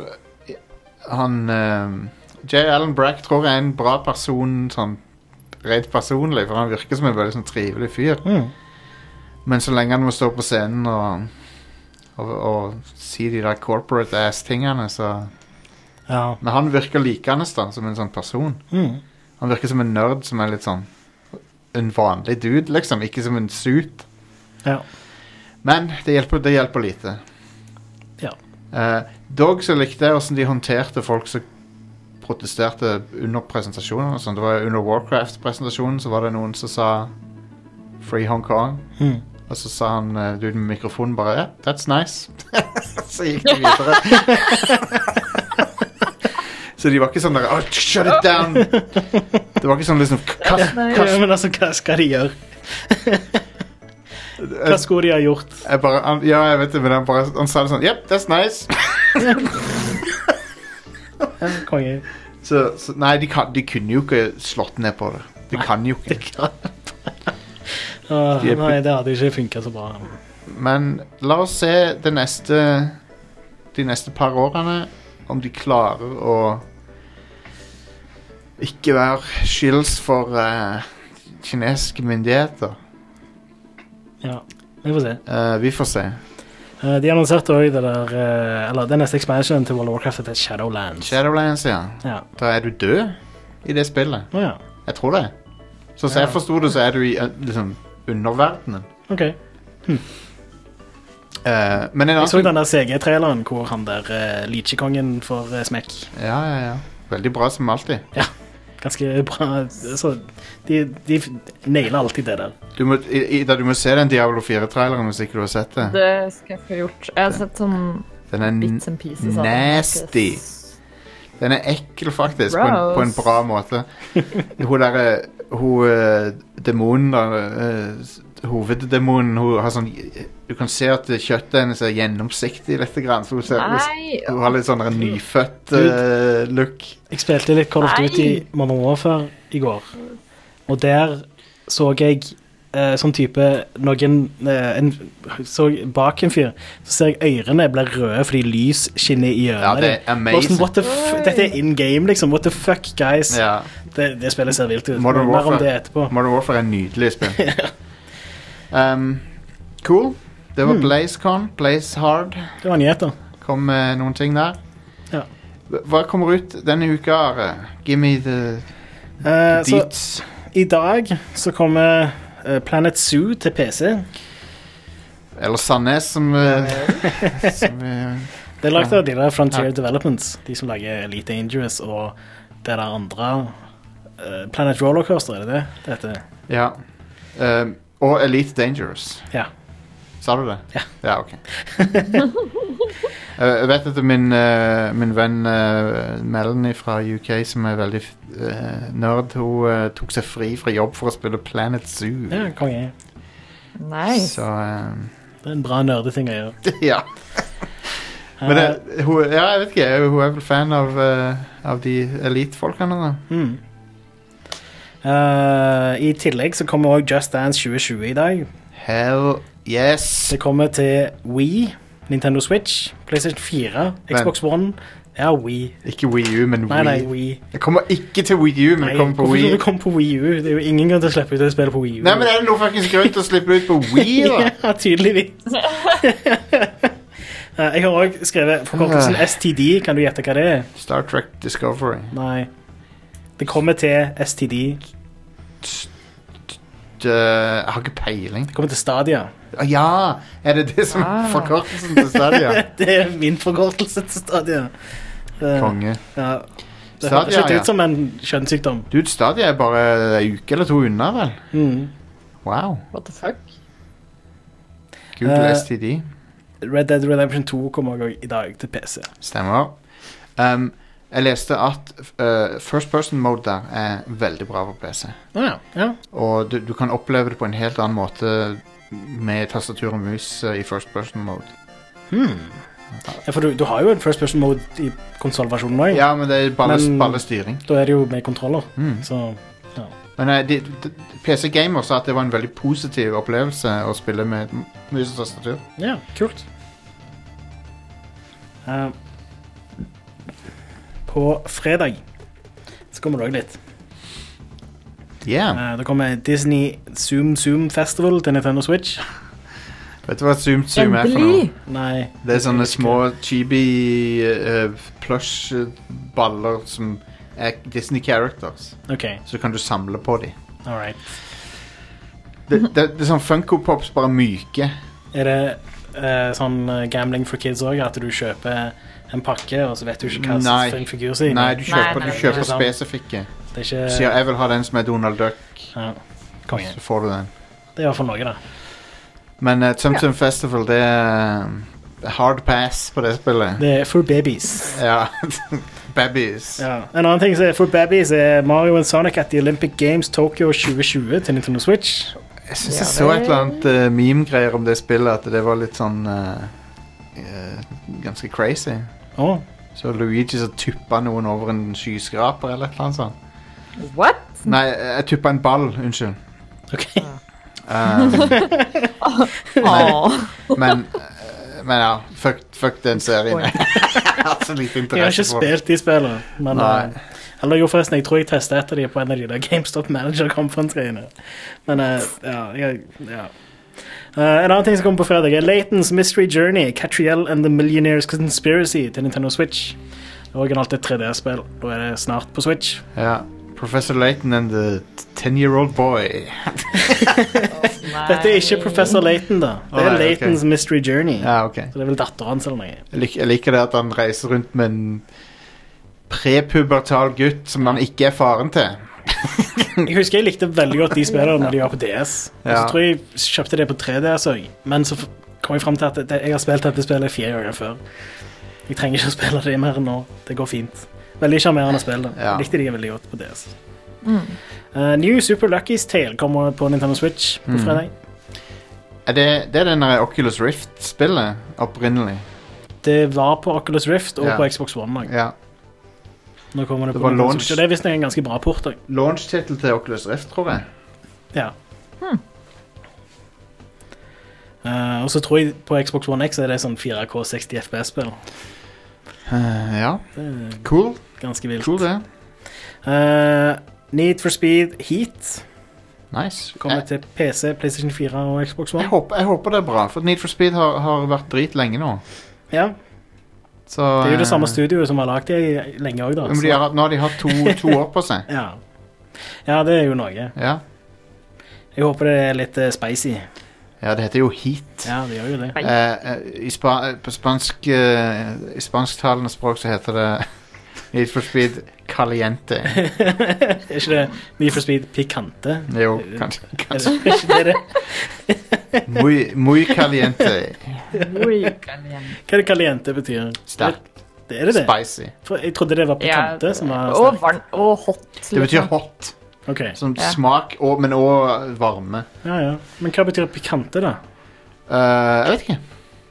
Han eh, J. Allen Brack tror jeg er en bra person sånn rent personlig, for han virker som en veldig sånn trivelig fyr.
Mm.
Men så lenge han må stå på scenen og og, og si de der corporate ass-tingene, så
Ja.
Men han virker likende da, som en sånn person.
Mm.
Han virker som en nerd som er litt sånn En vanlig dude, liksom. Ikke som en suit.
ja.
Men det hjelper, det hjelper lite.
Ja.
Eh, dog så likte jeg hvordan de håndterte folk som protesterte under presentasjonen. Og sånn. det var under Warcraft-presentasjonen så var det noen som sa 'Free Hong Kong'.
Mm.
Og så sa han eh, duden med mikrofonen bare yeah, 'That's nice'. så gikk de videre. så de var ikke sånn der oh, 'Shut it down'. Det var ikke sånn liksom kast,
Ja, men altså, hva skal de gjøre?
Eh,
Hva skulle de ha gjort?
Jeg bare, han, ja, jeg vet det, men han, bare, han sa det sånn Yep, that's nice.
Eh, Konge.
Så, så nei, de, kan, de kunne jo ikke slått ned på det. De kan jo ikke.
Åh,
De er-
Ah, nei, det hadde ikke funka så bra.
Men la oss se det neste de neste par årene om de klarer å ikke være skylds for eh, kinesiske myndigheter.
Ja, vi får se.
Eh, vi får se.
Eh, De annonserte òg det der eh, Eller den neste expansionen til World of Warcraft heter Shadowlands.
Shadowlands, ja.
Ja.
Da er du død i det spillet.
Å ja.
Jeg tror det. Sånn som jeg forsto det, så er du i eh, liksom, underverdenen.
OK.
Eh, men en
Jeg så
annen
den der CG-traileren hvor han der uh, Leachekongen får eh, smekk.
Ja, ja, ja. Veldig bra som alltid.
Ganske bra. Så de, de f- nailer alltid det der.
Du må, i, i, da du må se den Diablo 4-traileren hvis ikke du har sett det.
Det skal jeg få gjort. Jeg har sett sånn
Den er, n-
bits and pieces av det.
nasty. den er ekkel, faktisk, på en,
Gross.
på en bra måte. Hun derre Hun eh, demonen der eh, s- Hoveddemonen, hun har sånn Du kan se at kjøttet hennes er gjennomsiktig lite grann. Så hun, ser,
Nei.
hun har litt sånn der nyfødt eh, look.
Jeg spilte litt Call of
Nei.
Duty Modern Warfare i går, og der så jeg eh, sånn type noen eh, en, så Bak en fyr så ser jeg ørene blir røde fordi lys skinner i
Ja,
ørene.
det er
dem. Og
amazing.
sånn, what the f Dette er in game, liksom. What the fuck, guys?
Ja.
Det, det spillet ser vilt ut.
Modern
Mer om
Warfare.
det etterpå.
Modern Warfare er en nydelig spill. um, cool. Det
Hmm.
var BlazeCon. Blaze Hard.
Det var nyheter.
Kom med noen ting der.
Ja.
Hva- Hva kommer ut denne uka, Are? Give me the
Eh, så
deets.
i dag så kommer eh, Planet Zoo til PC.
Eller Sandnes, som, eh, som vi
Det er lagd av de der Frontier Developments, de som lager Elite Dangerous og det der andre eh, Planet Rollercoaster, er det det det heter?
Ja. Ehm, og Elite Dangerous.
Ja.
Sa du det?
Ja.
Ja, ok. Eh, Jeg vet at min, eh, min venn eh, Melanie fra UK, som er veldig eh, nerd, hun eh, tok seg fri fra jobb for å spille Planet Zoo.
ja konge.
Nice.
Så eh,
Det er en bra nerdeting å gjøre.
Ja. Men det, hun, ja, jeg vet ikke, hun er vel fan av, eh, av de elite-folkene, da.
Mm. Eh, I tillegg så kommer også Just Dance 2020 i dag.
Hell yes!
Det kommer til Wii, Nintendo Switch, PlayStation 4, Xbox One. Ja, Wii.
Ikke Wii U, men Wii.
Nei, nei, Wii.
Jeg kommer ikke til Wii U, men
Nei,
jeg kommer på
hvorfor
Wii.
skulle du komme på Wii U? Det er jo ingen grunn til å slippe ut et spill på Wii U.
Nei, men er det noe fuckings grunn til å slippe ut på Wii, da?
ja, tydeligvis. Eh, Jeg har òg skrevet forkortelsen
Ah.
STD. Kan du gjette hva det er?
Star Trek Discovery.
Nei. Det kommer til STD.
Det, eh, jeg har ikke peiling.
Det kommer til Stadia.
Ah, Ja, er det det som er
Ah.
forkortelsen til Stadia?
Det er min forkortelse til Stadia. Eh,
Konge.
Ja. Det
Stadia,
høres ikke
ja.
ut som en kjønnssykdom.
Dude, Stadia er bare ei uke eller to unna, vel?
Mm.
Wow.
What the fuck?
Google
Eh.
STD.
Red Dead Redemption 2 kommer også i dag til PC.
Stemmer. Um, jeg leste at uh, first person mode der er veldig bra på PC.
Å ja. ja.
Og du, du kan oppleve det på en helt annen måte med tastatur og mus eh, i first person mode.
Ja, For du, du har jo en first person mode i konsollversjonen òg.
Ja, Mm. men det er bare,
Men-
bare styring.
Da er det jo med kontroller. Så
Men eh, de, de, PC Gamer sa at det var en veldig positiv opplevelse å spille med m- mus og tastatur.
Ja, kult. Eh, på fredag så kommer det òg litt.
Yeah.
Eh, det kommer Disney Zoom Zoom Festival til Nintendo Switch.
Vet du hva Zoom Zoom er for noe?
Endelig!
Nei.
Det er sånne små chibi eh, plush-baller som er Disney characters.
OK,
Så kan du samle på dem.
all right.
Det, det, det er sånn Funko Pops, bare myke.
Er det eh, sånn eh, gambling for kids òg, at du kjøper en pakke, og så vet du ikke hva
Nei.
slags fin figur som er
Nei, du kjøper,
nei,
du
det
er
kjøper
sant.
spesifikke. Du
Det er ikke
sier 'jeg vil ha den som er Donald Duck',
ja. Eh. Konge.
så får du den.
Det er iallfall noe, da.
Men uh, Tumtum Festival, det er eh, hard pass på det spillet.
Det er for babies.
Ja. Babies.
Ja. En annen ting som er for babies, er Mario and Sonic at the Olympic Games Tokyo 2020 til Nintendo Switch.
Jeg syns jeg
Ja,
så et
det-
eller annet eh, meme-greier om det spillet, at det var litt sånn eh, eh, Ganske crazy.
Å,
Så Luigi så tuppa noen over en skyskraper eller et eller annet sånt.
What?
Nei, eh, jeg tuppa en ball, unnskyld.
ok.
Eh,
Åh.
men, eh, men ja, fuck, fuck den serien.
Oi.
jeg har så lite
Jeg har ikke
interesse for den.
spilt de spillene. Men,
Nei.
eh, eller jo, forresten, jeg tror jeg testa et av de på en av de der GameStop Manager Conference-greiene. Men eh, ja, jeg, ja. Eh, en annen ting som kommer på fredag, er Latens Mystery Journey, Catriel and the Millionaires Conspiracy til Nintendo Switch. Det er Originalt et 3D-spill. Da er det snart på Switch.
Ja. Professor Layton and the Ten Year Old Boy.
Dette er ikke Professor Laton, da.
Å,
Det er
nei, ok.
Latens Mystery Journey.
Ja, ok.
Så det er vel datteren hans eller noe.
Jeg, lik, jeg liker det at han reiser rundt med en prepubertal gutt som han ikke er faren til.
Jeg husker jeg likte veldig godt de spillene når de var på DS. Og så
Ja.
tror jeg jeg kjøpte det på 3DS òg, men så f- kom jeg fram til at det, jeg har spilt dette spillet fire ganger før. Jeg trenger ikke å spille det mer nå. Det går fint. Veldig sjarmerende spill. da.
Ja.
Jeg Likte de veldig godt på DS. Eh, New Super Lucky's Tale kommer på Nintendo Switch
Mm.
på fredag.
Er det, det er den der Oculus Rift-spillet opprinnelig.
Det var på Oculus Rift og
Ja.
på Xbox One. også.
Ja.
Nå kommer det,
Det
på
var
Nintendo
launch.
Switch, og det er visstnok en ganske bra port. også.
Launch-tittel til Oculus Rift, tror jeg.
Ja. Eh, og så tror jeg på Xbox One X er det sånn 4K 60 FPS-spill.
Eh, ja.
Det er
Cool.
ganske vilt.
Cool, det.
Eh, Need for Speed Heat
Nice.
kommer
Jeg,
til PC, PlayStation 4 og Xbox
jeg,
One.
håper, jeg håper det er bra, for Need for Speed har, har vært drit lenge nå.
Ja,
Så,
det er jo det samme
eh,
studioet som har lagd det lenge òg, da.
men de har, hatt- nå har de hatt to, to år på seg.
ja. ja, det er jo noe.
Ja.
Jeg håper det er litt eh, spicy.
Ja, det heter jo heat.
Ja, det gjør jo det.
Nei.
Eh, eh, I, spa på spansk, eh, i spansktalende språk så heter det Need for speed caliente.
Er ikke det Need for speed pikante?
Jo, kanskje.
Er det er ikke det det?
Muy, muy caliente.
Oi.
Hva er det caliente betyr?
Sterk.
Det er det det?
Spicy.
For jeg trodde det var
Ja,
pikante som var
og varm og hot.
Det betyr
liksom.
hot.
Ok,
Som
Ja.
smak, og, men òg varme.
ja, ja. Men hva betyr pikante, da?
Eh, jeg vet ikke.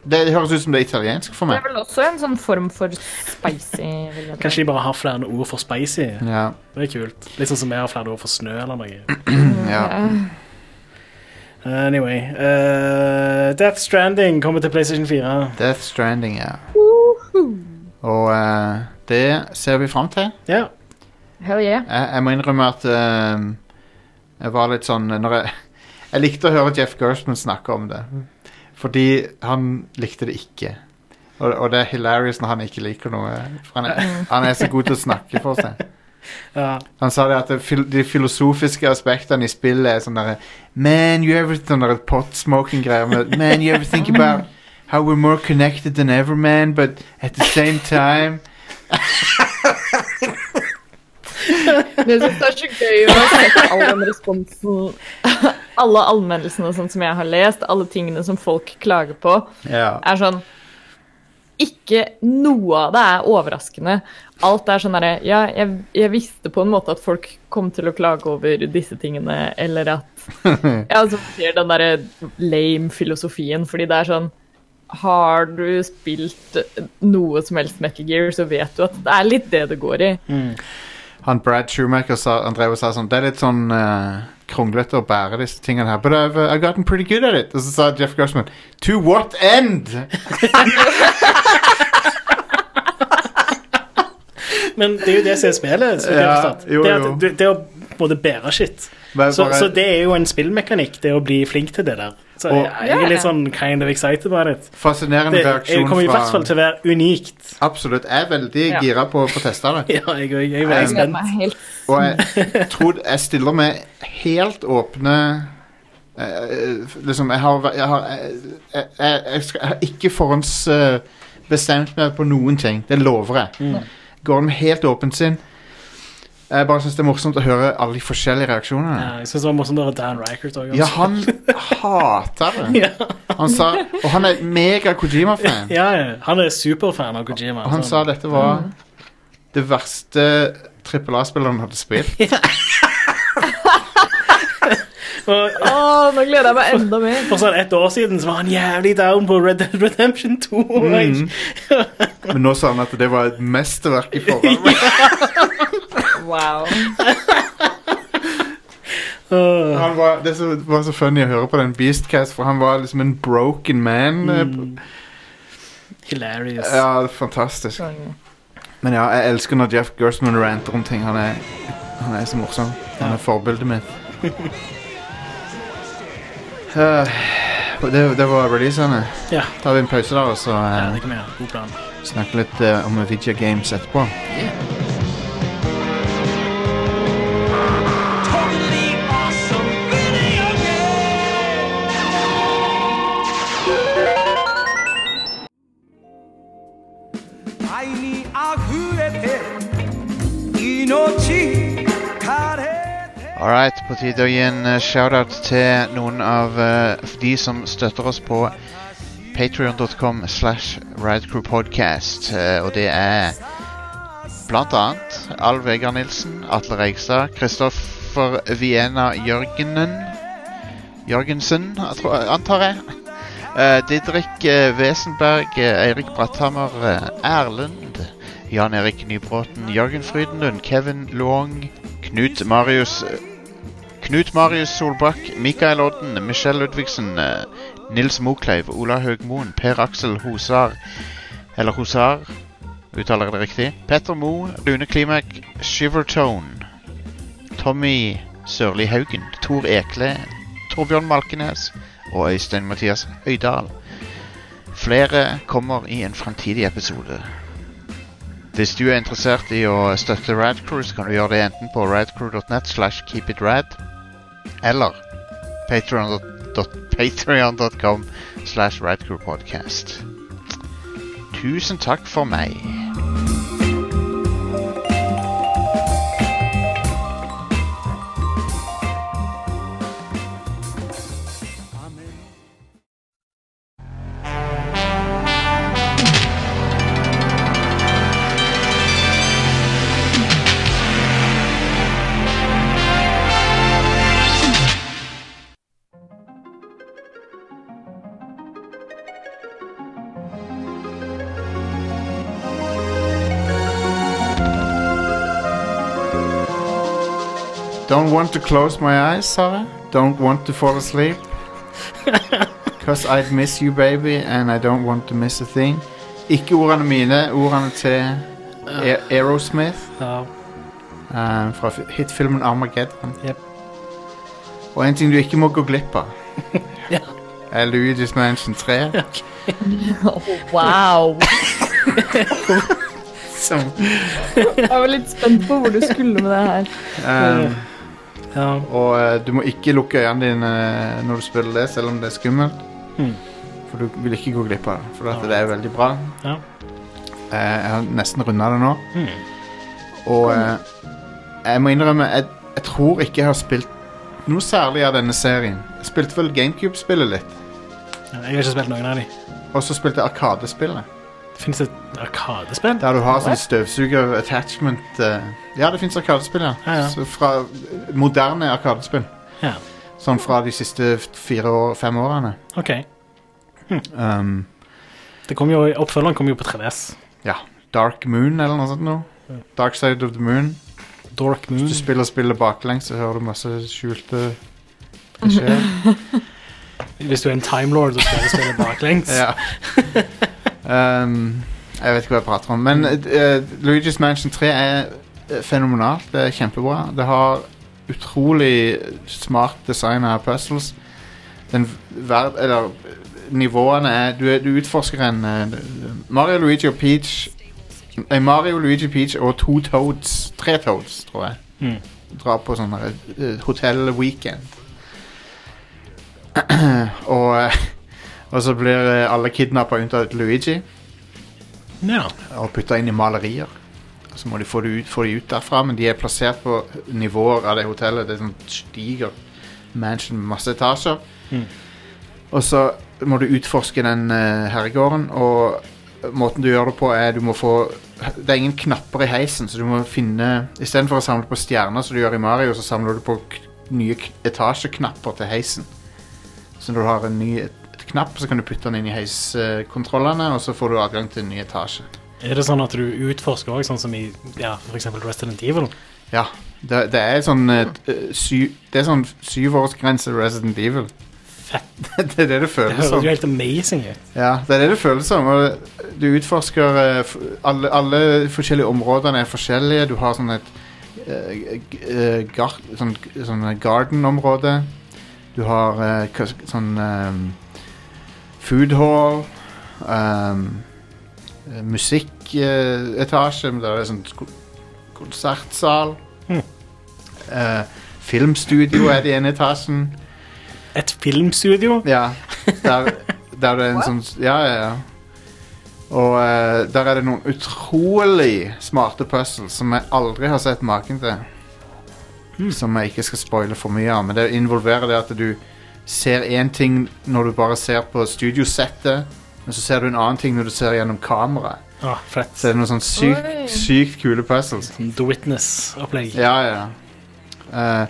Det, det høres ut som det er italiensk for
Det er
meg.
vel også en sånn form for spicy vil jeg tro.
Kanskje de bare har flere ord for spicy?
Ja,
Det er kult. Litt sånn som vi har flere ord for snø eller noe.
ja.
Anyway eh, Death Stranding kommer til PlayStation 4.
Death Stranding, ja. Og eh, det ser vi fram til.
Ja.
Hell yeah.
Jeg, jeg må innrømme at eh, jeg var litt sånn når jeg, jeg likte å høre Jeff Gerstmann snakke om det. Fordi han likte det ikke. Og, og det er hilarious når han ikke liker noe. For han er, han er så god til å snakke for seg.
ja.
Han sa det at det, fil- de filosofiske aspektene i spillet er sånn derre Man, you ever Sånn derre pot-smoking-greier med Man, you ever think about how we're more connected than ever, man, but at the same time
Men jeg synes det er så gøy å se all den responsen. Alle anmeldelsene og sånt som jeg har lest, alle tingene som folk klager på,
Ja.
er sånn Ikke noe av det er overraskende. Alt er sånn derre Ja, jeg, jeg visste på en måte at folk kom til å klage over disse tingene, eller at Ja, som du sier, den derre lame filosofien, fordi det er sånn har du spilt noe som helst Metal Gear, så vet du at det er litt det det går i.
Han Brad Schumacher sa, han drev og sa sånn Det er litt sånn eh, kronglete å bære disse tingene her, but I've, uh, I've gotten pretty good at it. Og så sa Jeff Gershman To what end?
Men det er jo det som er spillet. Så det,
Ja,
er forstått.
jo,
det, er
jo.
at, du- det er å både bære shit.
Bare-
Så,
bare-
så det er jo en spillmekanikk, det å bli flink til det der. Så
Og-
jeg, jeg er litt sånn kind of excited about it.
Fascinerende
Det jeg
reaksjon
kommer i hvert
fra
fall til å være unikt.
Absolutt. Jeg er veldig
Ja.
gira på å få teste det.
Ja, jeg òg. Jeg er veldig
Um,
Gleder
spent.
meg helt
Og jeg tror jeg stiller med helt åpne eh, Liksom, jeg har, jeg har jeg, jeg, jeg, skal, jeg har ikke forhåndsbestemt meg på noen ting. Det lover jeg.
Mm.
Går det med helt åpent sinn. Jeg bare syns det er morsomt å høre alle de forskjellige
Ja,
reaksjonerne.
jeg syns det var morsomt å høre Dan Reichert òg.
Ja, han hater det. Han sa, og han er mega Kojima-fan.
altså. Ja, Mm. ja. Han er superfan av Kojima. altså.
Og han
så-
sa dette var det verste trippel A-spilleren hadde spilt.
og,
Å, nå gleder jeg meg enda mer.
For sånn ett år siden så var han jævlig down på Red Dead Redemption 2.
Mm.
og jeg-
Men nå sa han at det var et mesterverk i forhold.
Wow.
Åh.
Han var, det som var så funny å høre på den Beastcast, for han var liksom en broken man.
Mm. Hilarious.
Ja, fantastisk.
Sånn,
Men ja, jeg elsker når Jeff Gerstmann ranter om ting. Han er, han er så morsom. Han er forbildet mitt. Eh, det, det var releasene.
Ja.
Tar vi en pause der, og så
Ja,
eh,
det kan vi gjøre. God plan.
snakker litt eh, om video games etterpå.
totally awesome video game.愛にあふれて命枯れて
Alright, på tide å gi en eh, shoutout til noen av eh, de som støtter oss på patreon.com slash ridecrewpodcast. Eh, og det er blant annet Al Vegard Nilsen, Atle Reigstad, Kristoffer Vienna Jørgenen Jørgensen, jeg tror, antar jeg. Eh, Didrik eh, Wesenberg, eh, Eirik Bratthammer, eh, Erlend, Jan Erik Nybråten, Jørgen Frydenlund, Kevin Luong, Knut Marius eh, Knut Marius Solbakk, Mikael Odden, Michelle Ludvigsen, eh, Nils Mokleiv, Ola Høgmoen, Per Aksel Hosar Eller Hosar, uttaler jeg det riktig? Petter Moe, Rune Klimek, Shivertone, Tommy Sørli Haugen, Tor Ekle, Torbjørn Malkenes og Øystein Mathias Høydal. Flere kommer i en fremtidig episode. Hvis du er interessert i å støtte Radcrew, så kan du gjøre det enten på radcrew.net slash keepitrad eller patreon.com patreon.com slash radcrewpodcast. Tusen takk for meg. Don't want to close my eyes, sa jeg. Don't want to fall asleep. Cause I'd miss you, baby, and I don't want to miss a thing. Ikke ordene mine, ordene til A- Aerosmith
Ja.
eh, fra fi- hitfilmen Armageddon.
Jep.
Og en ting du ikke må gå glipp av,
Ja.
er Luigi's Mansion 3.
Wow.
Som,
Jeg var litt spent på hvor du skulle med det her.
eh,
ja.
og eh, du må ikke lukke øynene dine eh, når du spiller det, selv om det er skummelt.
Hmm.
For du vil ikke gå glipp av det, for at det er veldig bra.
Ja. Hmm.
Eh, jeg har nesten runda det nå. Og eh, jeg må innrømme, jeg, jeg tror ikke jeg har spilt noe særlig av denne serien. Jeg spilte vel GameCube-spillet litt,
Jeg har ikke spilt noen av de.
og så spilte jeg Arkadespillet.
Fins det et arkadespill?
Der du har sånn støvsuger-attachment eh, Ja, det fins Arkadespill, ja.
Ja, ja.
Så fra moderne Arkadespill.
Ja.
Sånn fra de siste f- fire år, fem årene.
OK.
Um,
Det kom jo, oppfølgeren kom jo på 3DS.
ja. Dark Moon eller noe sånt noe. Dark Side of the Moon.
Dork Moon.
Hvis du spiller spillet baklengs, så hører du masse skjulte beskjeder.
Hvis du er en timelord og spiller spillet baklengs.
Ja. um, jeg vet ikke hva jeg prater om. Men eh, Luigi's Mansion 3 er eh, fenomenalt. Det er kjempebra. Det har utrolig smart design av puzzles. Den ver eller eh, nivåene er Du, er- du utforsker en eh, Mario, Luigi og Peach Nei, Mario, Luigi, Peach og to Toads. Tre Toads, tror jeg.
Mm.
Drar på sånn uh, hotellweekend. og eh, og så blir eh, alle kidnappa unntatt Luigi
Ja.
og putta inn i malerier. Og Så må de få de, ut, få de ut derfra, men de er plassert på nivåer av det hotellet. Det er sånn stiger mansion med masse etasjer.
Mhm.
Og så må du utforske den eh, herregården, og måten du gjør det på, er du må få Det er ingen knapper i heisen, så du må finne Istedenfor å samle på stjerner, som du gjør i Mario, så samler du på k nye k etasjeknapper til heisen. Så når du har en ny et, et knapp, så kan du putte den inn i heiskontrollene, og så får du adgang til en ny etasje.
Er det sånn at du utforsker òg, sånn som i ja, f.eks. Resident Evil?
Ja, det, det er sånn eh, eh, sy, Det er sånn syvårsgrense Resident Evil.
Fett.
det er sånn. det det
Det
føles
høres
som.
jo helt amazing ut.
Ja, det er det det føles som. Og du utforsker eh, f- alle, alle forskjellige områdene er forskjellige. Du har sånn et eh, g- eh, gar, sånn, sånn garden-område. Du har eh, hva sk- sånn eh, food hall. eh, Musikketasje, der det er sånn ko- konsertsal.
Mhm.
Eh, filmstudio er det i ene etasjen.
Et filmstudio?
Ja, der, der det er en sånn Ja, ja, ja. Og eh, der er det noen utrolig smarte puzzles som jeg aldri har sett maken til. Som jeg ikke skal spoile for mye av, men det involverer det at du ser én ting når du bare ser på studiosettet, men så ser du en annen ting når du ser gjennom kameraet.
Ah, fett.
Så er det noen sånn sykt,
Oi.
sykt kule puzzles.
Sånn The Witness-opplegg.
Ja, ja. Eh,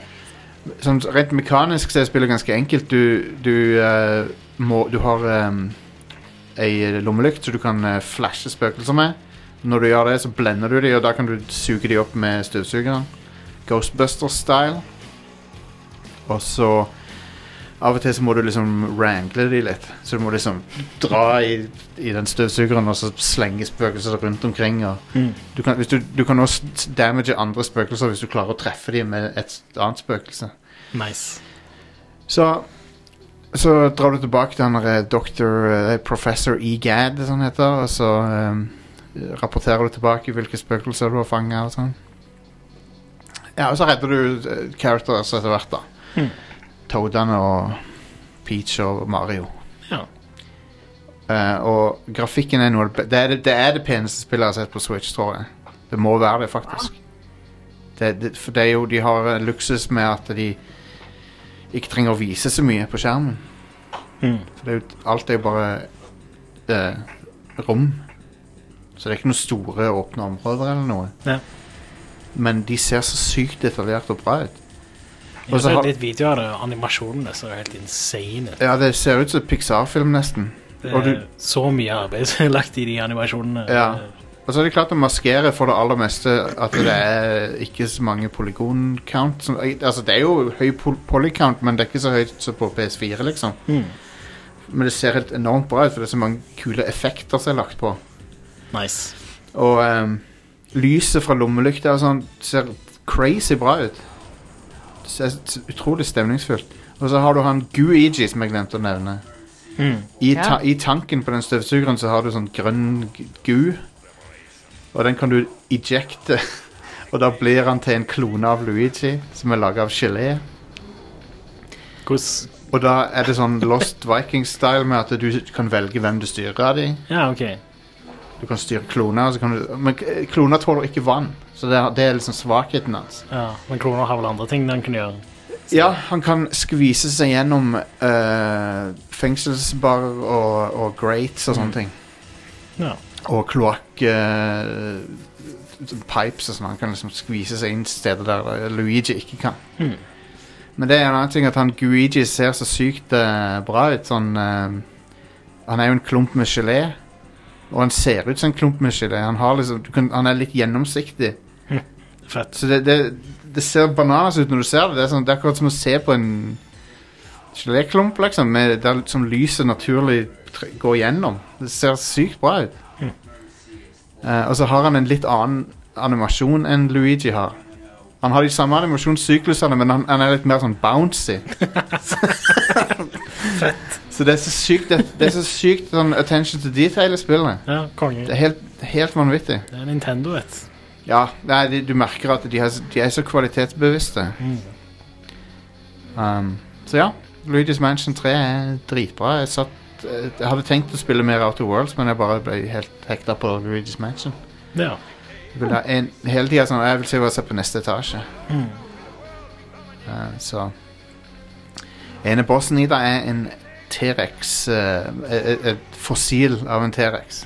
sånn, rent mekanisk så er spillet ganske enkelt. Du, du, eh, må, du har um, ei lommelykt så du kan eh, flashe spøkelser med. Når du gjør det, så blender du de, og da kan du suge de opp med støvsugeren. Ghostbusters-style. Og så Av og til så må du liksom wrangle de litt. Så du må liksom dra i, i den støvsugeren og så slenge spøkelser rundt omkring. Og, du kan, hvis du, du kan også s- damage andre spøkelser hvis du klarer å treffe dem med et s- annet spøkelse.
Nice.
Så, så drar du tilbake til han der, eh, doktor eh, Professor E. Gadd, som han heter, og så eh, rapporterer du tilbake hvilke spøkelser du har fanga og sånn. Ja, og så redder du eh, characters etter hvert, da.
Mhm.
Toadene og Peach og Mario.
Ja.
Eh, og grafikken er noe av det be- det er det, det er det peneste spillet jeg har sett på Switch, tror jeg. Det må være det, faktisk. Det, det, for det er jo, de har eh, luksus med at de ikke trenger å vise så mye på skjermen.
Mm.
For det er jo, alt er jo bare eh, rom. Så det er ikke noen store åpne områder eller noe.
Ja.
Men de ser så sykt detaljert og bra ut.
Og så
har-
litt videoer av det, og animasjonene så er det helt insane. ut.
Ja, det ser ut som en Pixar-film, nesten.
Det
Og
er
du-
så mye arbeid som er lagt i de animasjonene.
Ja. Og så har de klart å maskere for det aller meste at det er ikke så mange polygon-count. som- Altså, det er jo høy pol polycount, men det er ikke så høyt som på PS4, liksom.
Mm.
Men det ser helt enormt bra ut, for det er så mange kule effekter som er lagt på.
Nice.
Og ehm, lyset fra lommelykta og sånn ser crazy bra ut. Det ser s- utrolig stemningsfullt. Og så har du han Guigi, som jeg glemte å nevne.
Mm.
I,
Ja.
ta I tanken på den støvsugeren så har du sånn grønn g- gu. Og den kan du ejecte. Og da blir han til en klone av Luigi, som er laga av gelé.
Hvordan
Og da er det sånn Lost Viking-style med at du kan velge hvem du styrer av de.
Ja, OK.
Du kan styre kloner, og så kan du, men k- kloner tåler ikke vann. Så det er, det er liksom svakheten hans.
Ja. Men Kroner har vel andre ting han kan gjøre.
Ja, han kan skvise seg gjennom eh, fengselsbarer og, og grates og sånne ting.
Ja.
Og kloakk eh, Pipes og sånn. Han kan liksom skvise seg inn steder der eh, Luigi ikke kan.
Mhm.
Men det er en annen ting at han Guigi ser så sykt eh, bra ut. Sånn eh, Han er jo en klump med gelé. Og han ser ut som en klump med gelé. Han, har liksom, du kan, han er litt gjennomsiktig.
Fett.
Så det, det, det ser bananas ut når du ser det. Det er, sånn, det er akkurat som å se på en geléklump, liksom. Med, der, som lyset naturlig tr- går gjennom. Det ser sykt bra ut. Eh, og så har han en litt annen animasjon enn Luigi har. Han har de samme animasjonssyklusene, men han, han er litt mer sånn bouncy. Så det er så sykt, det, det er så sykt sånn attention to detail i spillet.
Ja, konge.
Det er helt, helt vanvittig.
Det er Nintendo, vet du.
Ja, nei, de, du merker at de, har, s- de er så kvalitetsbevisste. Um, så ja, Luigi's Mansion 3 er dritbra. Jeg, satt, eh, jeg hadde tenkt å spille mer Outer Worlds, men jeg bare ble helt hekta på Luigi's Mansion.
Ja.
Jeg vil ha en, hele tida sånn Jeg vil se hva som er på neste etasje. Eh, så Ene bossen i det er en T-rex. eh, et, et fossil av en T-rex.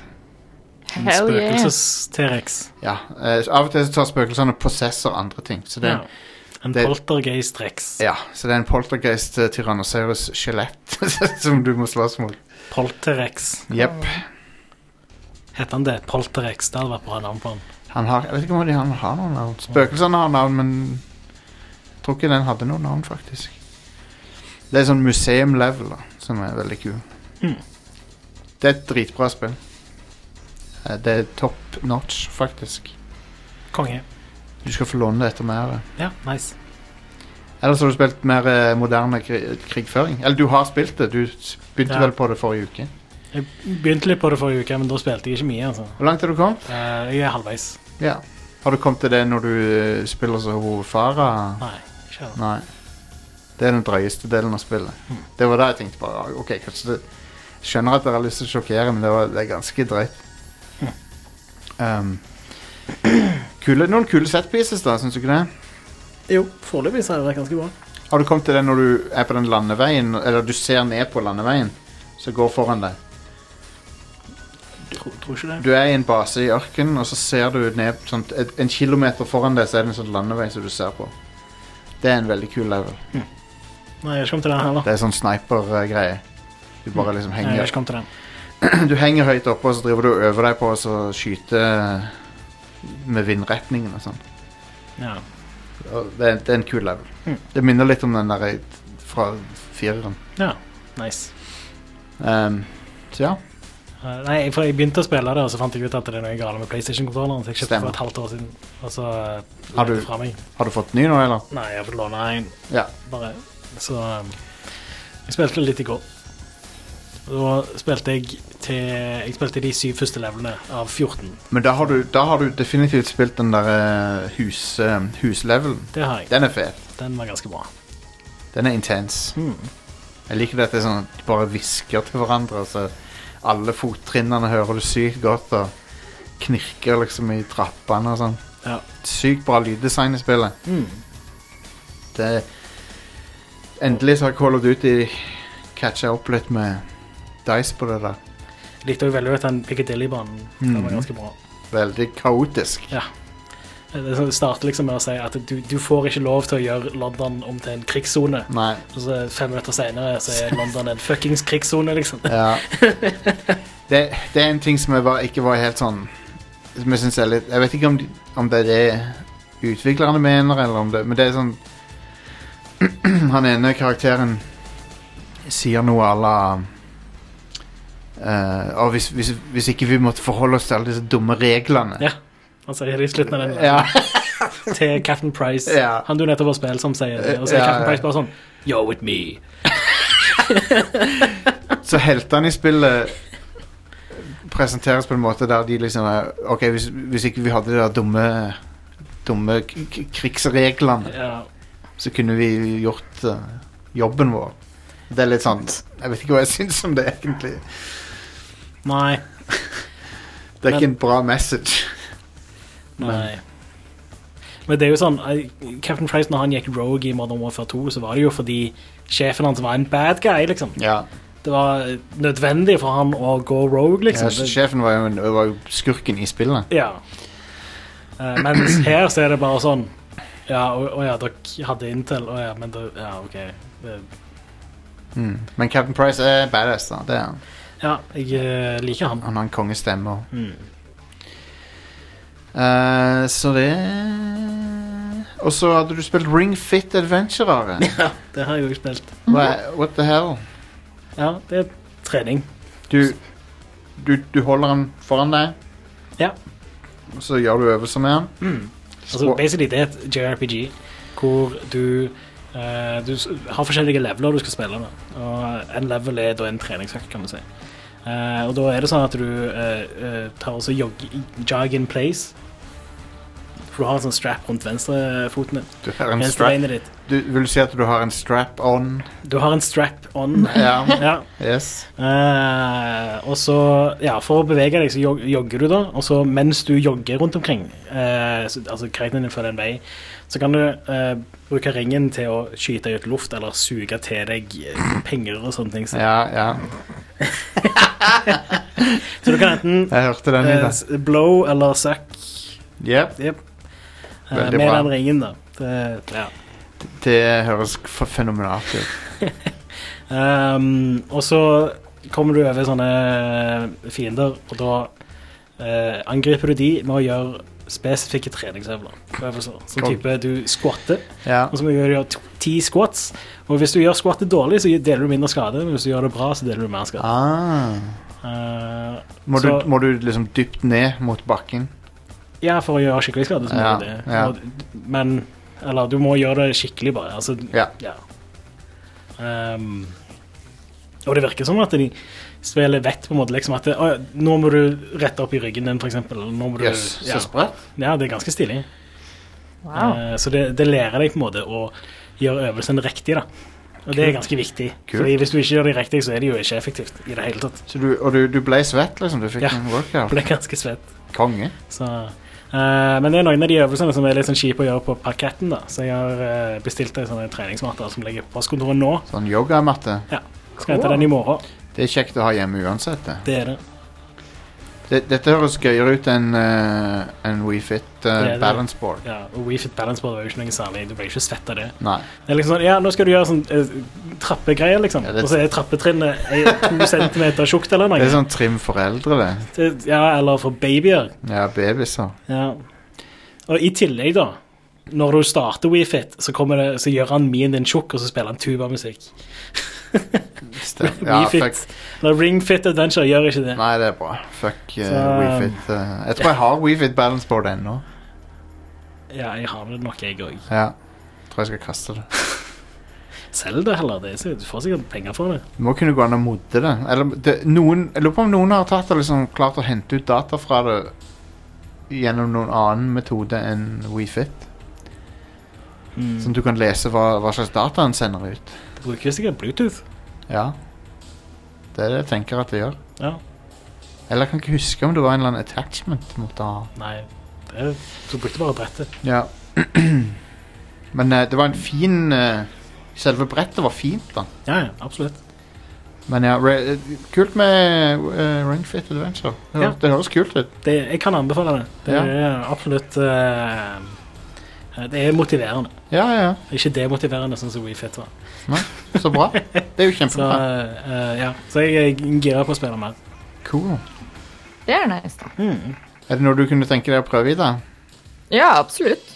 En
Hell yeah.
Spøkelses-T-rex.
Ja, eh, av og til så tar spøkelsene og possessor andre ting. Så det,
Ja. En
det-
poltergeist-rex.
Ja, så det er en poltergeist eh, Tyrannosaurus skjelett som du må slåss mot.
Polterrex.
Jepp.
Heter han det? Polterrex. Det hadde vært bra navn på han.
Han har, jeg vet ikke om de han har noen navn. Spøkelsene har navn, men jeg tror ikke den hadde noen navn, faktisk. Det er sånn museum-level, da, som er veldig kul. Det er et dritbra spill. Eh, Det er top notch, faktisk.
Konge.
Du skal få låne det etter meg. av det.
Ja, nice.
Ellers har du spilt mer eh, moderne kri krigføring. Eller du har spilt det. Du s- begynte
Ja.
vel på det forrige uke.
Jeg begynte litt på det forrige uke, men da spilte jeg ikke mye. altså.
Hvor langt er du kommet?
Eh, Jeg er halvveis.
Ja. Har du kommet til det når du eh, spiller som hun Farah?
Nei, ikke helt.
Nei. Det er den drøyeste delen av spillet. Det var da jeg tenkte bare ah, OK, kanskje det Skjønner at dere har lyst til å sjokkere, men det, var, det er ganske drøyt. Um, kule, noen kule setpieces, da, syns du ikke det?
Jo, foreløpig så har det vært ganske bra.
Har du kommet til det når du er på den landeveien, eller du ser ned på landeveien som går foran deg?
Tror, tror ikke det.
Du er i en base i ørkenen, og så ser du ned sånn, et, En kilometer foran deg så er det en sånn landevei som du ser på. Det er en veldig kul level.
Nei, jeg har ikke kommet til den heller.
Det er sånn sniper-greie. Du bare liksom
Nei, jeg har
henger
ikke kommet til den.
Du henger høyt oppe, og så driver du og øver deg på å så skyte med vindretningen og sånn.
Ja.
Og Det, er- det er en kul level. Det minner litt om den der fra fireren.
ja, nice.
Ehm, så ja.
Eh, Nei, for jeg begynte å spille det, og så fant jeg ut at det er noe galt med PlayStation-kontrolleren. Så jeg kjøpte
Stemmer.
for et halvt år siden, og så
Har
la
du-
det fra meg.
Har du fått ny nå, eller?
Nei, jeg har fått låne en,
Ja.
bare. Så um, jeg spilte litt i går. Og da spilte jeg til Jeg spilte de syv første levelene av 14.
Men da har du, da har du definitivt spilt den der eh, hus, eh, huslevelen.
Det har jeg.
Den er fet.
Den var ganske bra.
Den er intens. Jeg liker det at det er sånn at de bare hvisker til hverandre. Så alle fottrinnene hører du sykt godt, og knirker liksom i trappene og sånn.
Ja.
Sykt bra lyddesign i spillet. Det Endelig så har Call of Duty catcha opp litt med Dice på det der.
Likte også veldig godt den Piccadilly-banen. Den
Mhm.
var ganske bra.
Veldig kaotisk.
Ja. Det sånn- det starter liksom med å si at du, du får ikke lov til å gjøre London om til en krigssone.
Nei.
Og så fem minutter senere så er London en fuckings krigssone, liksom.
Ja. Det, det er en ting som jeg var, ikke var helt sånn Som jeg synes er litt Jeg vet ikke om, de, om det er det utviklerne mener, eller om det Men det er sånn Han ene karakteren sier noe à la eh, «Å, hvis, hvis, hvis ikke vi måtte forholde oss til alle disse dumme reglene
Ja. Han sier det i slutten av den
Ja.
til Captain Price,
Ja.
han du nettopp har spilt, som sier det. Og så er
Ja,
Captain
ja.
Price bare sånn Yo, with me.
Så heltene i spillet presenteres på en måte der de liksom er OK, hvis, hvis ikke vi hadde de der dumme Dumme k- k- krigsreglene
Ja.
så kunne vi gjort eh, jobben vår. Det er litt sånn Jeg vet ikke hva jeg syns om det, egentlig.
Nei.
Det er
Men-
ikke en bra message.
Nei. Men det er jo sånn eh, Captain Price, når han gikk rogue i Modern Warfare 2, så var det jo fordi sjefen hans var en bad guy, liksom.
Ja.
Det var eh, nødvendig for han å gå rogue, liksom.
så sjefen var jo, en, var jo skurken i spillet.
Det- ja. Eh, mens her så er det bare sånn Ja, å å ja, dere hadde Intel, å ja, men da Ja, OK. Eh,
Mm. Men Captain Price er badass, da. Det er han.
Ja, jeg eh, liker han.
Han har en kongestemme. og-
Mm.
Eh, så det Og så hadde du spilt Ring Fit Adventure. Are.
Det har jeg jo spilt.
Hva- What the hell?
Ja, det er trening.
Du, du, du holder han foran deg,
Ja.
og så gjør du øvelser med han.
Altså, basically, det er et JRPG hvor du, eh, du s- har forskjellige leveler du skal spille med. Og en level er da en treningsøkt, kan du si. Eh, og da er det sånn at du eh, eh, tar også jog, jog in place. For du har en sånn strap rundt venstrefoten din.
Du har en strap
Venstrebeinet ditt.
Du vil si at du har en strap on?
Du har en strap on.
Ja.
Ja.
Yes.
Eh, og så, ja, For å bevege deg, så jog jogger du, da. Og så mens du jogger rundt omkring, eh, så, altså karakteren din følger en vei, så kan du eh, bruke ringen til å skyte ut luft eller suge til deg eh, penger og sånne ting. Så,
Ja, ja.
så du kan enten
Jeg hørte den i
eh,
dag.
s- blow eller suck
Yep.
yep, eh,
Veldig
med
bra.
den ringen, da. Det, ja.
Det høres f- fenomenalt ut.
Ehm, og så kommer du over sånne fiender, og da eh, angriper du de med å gjøre spesifikke treningsøvler. Øvelser, som
Kom.
sånn type du squatter,
Ja.
og så må du gjøre gjøre to- ti squats. Og hvis du gjør squattet dårlig, så deler du mindre skade, men hvis du gjør det bra, så deler du mer skade.
Ah.
Eh,
Må,
Så-
du, må du liksom dypt ned mot bakken?
ja, for å gjøre skikkelig skade, så må
Ja,
du det.
ja.
Og- Men Eller du må gjøre det skikkelig, bare. Altså,
Ja.
Ja. Ehm, og det virker som at de spillet vet på en måte liksom at det, «Å ja, nå må du rette opp i ryggen din, for eksempel. eller Nå må du,
Jøss, yes,
ja.
så sprøtt.
ja, det er ganske stilig.
Wow.
Eh, så det, det lærer deg på en måte å gjøre øvelsen riktig, da. Og det er ganske viktig.
Kult.
Fordi hvis du ikke gjør det riktig, så er det jo ikke effektivt i det hele tatt.
Så du, og du, du ble svett, liksom? Du fikk
Ja.
en
For
workout?
det er ganske svett.
Konge.
Så, eh, men det er noen av de øvelsene som er litt sånn kjipe å gjøre på parketten. da Så jeg har eh, bestilt en sånn treningsmatte som ligger på postkontoret nå.
Sånn yogamatte.
Ja, Skal hente den i morgen.
Det er kjekt å ha hjemme uansett, det.
Det er det.
det dette høres gøyere ut enn uh, en WeFit
er
uh,
det.
Balance Board.
Ja, og WeFit Balance Board var jo ikke noe særlig. Du ble ikke svett av det.
Nei.
Det er liksom sånn, ja, Nå skal du gjøre sånn eh, trappegreier, liksom.
Ja, det-
Og så er trappetrinnet eh, to centimeter tjukt eller
Det er
noe.
sånn trim for eldre, det.
Det- Ja, Eller for babyer.
Ja, babyser.
Ja. Og i tillegg, da. Når du starter WeFit, så, kommer det- så gjør han min din tjukk, og så spiller han tubamusikk.
Stem-
Ja, WeFit. Når Ring Fit Adventure gjør ikke det.
Nei, det er bra. Fuck uh,
Så, um,
WeFit. eh, jeg tror jeg har WeFit Balance Board ennå.
Ja, jeg har det nok, jeg òg.
Ja. Tror jeg skal kaste det.
Selg det heller. Det er så, du får sikkert penger for det.
Det må kunne gå an å modde det. Eller det, noen, jeg lurer på om noen har tatt og liksom klart å hente ut data fra det gjennom noen annen metode enn WeFit.
Mm.
Sånn at du kan lese hva, hva slags data den sender ut.
Du bruker jo sikkert Bluetooth.
Ja. Det er det jeg tenker at det gjør.
Ja.
Eller jeg kan ikke huske om det var en eller annen attachment mot det.
Nei, det, du brukte bare brettet.
Ja. Men eh, det var en fin eh, Selve brettet var fint, da.
Ja, ja, absolutt.
Men ja, re, eh, kult med eh, Ring Fit Adventure. Det, hø-
Ja.
det høres kult ut.
Det, jeg kan anbefale det. Det
Ja.
er absolutt eh, Det er motiverende.
Ja, ja, ja.
Ikke demotiverende, sånn som WeFit var.
Så bra. Det er jo
Så,
kjempebra.
eh, ja. så jeg er gira på å spille mer.
Cool.
Det er nice, da.
Er det noe du kunne tenke deg å prøve i, da?
Ja, absolutt.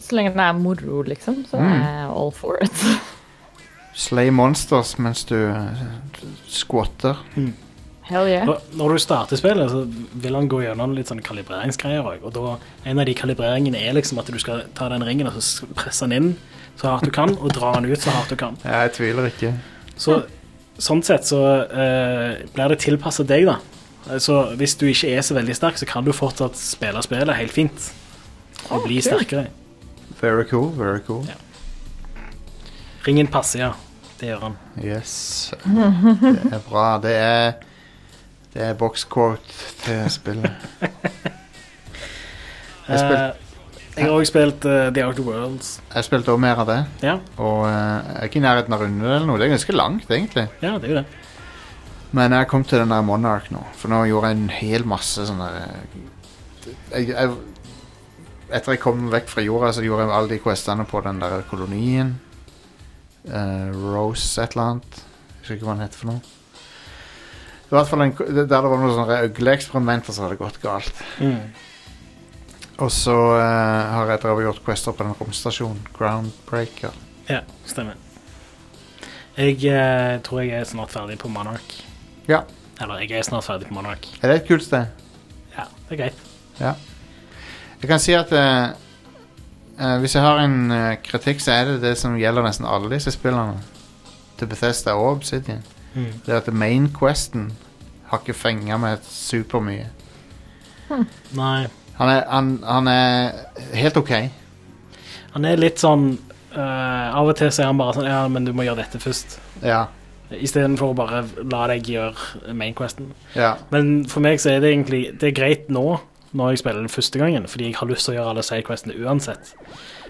Så lenge det er moro, liksom, så er jeg all for it.
Slay monsters mens du eh, squatter.
Hell yeah.
Når, når du starter spillet, så vil han gå gjennom litt sånn kalibreringsgreier òg. Og da, en av de kalibreringene er liksom at du skal ta den ringen og så s- presse den inn så hardt du kan, og dra den ut så hardt du kan.
Ja, jeg tviler ikke.
Så sånn sett så eh, blir det tilpasset deg, da. Eh, Så hvis du ikke er så veldig sterk, så kan du fortsatt spille spillet helt fint. Og bli
kult.
sterkere.
Very cool, very cool.
Ringen passer, ja. Det gjør han.
Yes. Det er bra. Det er Det er boxcourt til spillet. Jeg spil-
Eh, jeg har òg spilt eh, The Outer Worlds.
Jeg spilte også mer av det,
Ja,
og eh, jeg er ikke i nærheten av å runde det eller noe. Det er ganske langt, egentlig.
ja, det er jo det.
Men jeg kom til den der Monarch nå, for nå gjorde jeg en hel masse sånne jeg, jeg, Etter jeg kom vekk fra jorda, så gjorde jeg alle de questene på den der kolonien. Eh, Rose et eller annet. Jeg husker ikke hva den heter for noe. I hvert fall en, ko- der det var noen sånne øgleeksperimenter som hadde gått galt.
Mm.
Og så eh, har jeg drevet og gjort quester på den romstasjonen. Groundbreaker.
Ja, stemmer. Jeg eh, tror jeg er snart ferdig på Monark.
Ja.
Eller jeg er snart ferdig på Monark.
Er det et kult sted?
Ja, det er greit.
Ja. Jeg kan si at eh, eh, hvis jeg har en eh, kritikk, så er det det som gjelder nesten alle disse spillene. Til Bethesda og Obsidian.
Mm.
Det er at main questen har ikke fenga meg supermye.
Nei.
Han, er- han, han er helt OK.
Han er litt sånn eh, Av og til så er han bare sånn Ja, men du må gjøre dette først.
Ja.
Istedenfor å bare la deg gjøre mainquesten.
ja.
Men for meg så er det egentlig Det er greit nå, når jeg spiller den første gangen, fordi jeg har lyst til å gjøre alle sidequestene uansett.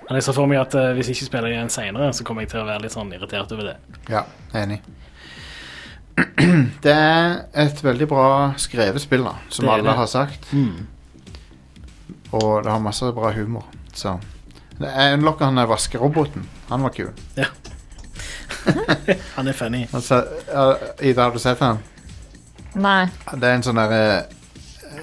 Men jeg ser for meg at eh, hvis jeg ikke spiller igjen seinere, så kommer jeg til å være litt sånn irritert over det.
Ja, enig. Det er et veldig bra skrevet spill, da, som
Det er
alle
det.
har sagt.
Mm.
Og det har masse bra humor. Så Det er Unlocker han der vaskeroboten. Han var kul.
Mhm. Han er funny.
Altså, uh, Ida, har du sett han?
Nei.
Det er en sånn derre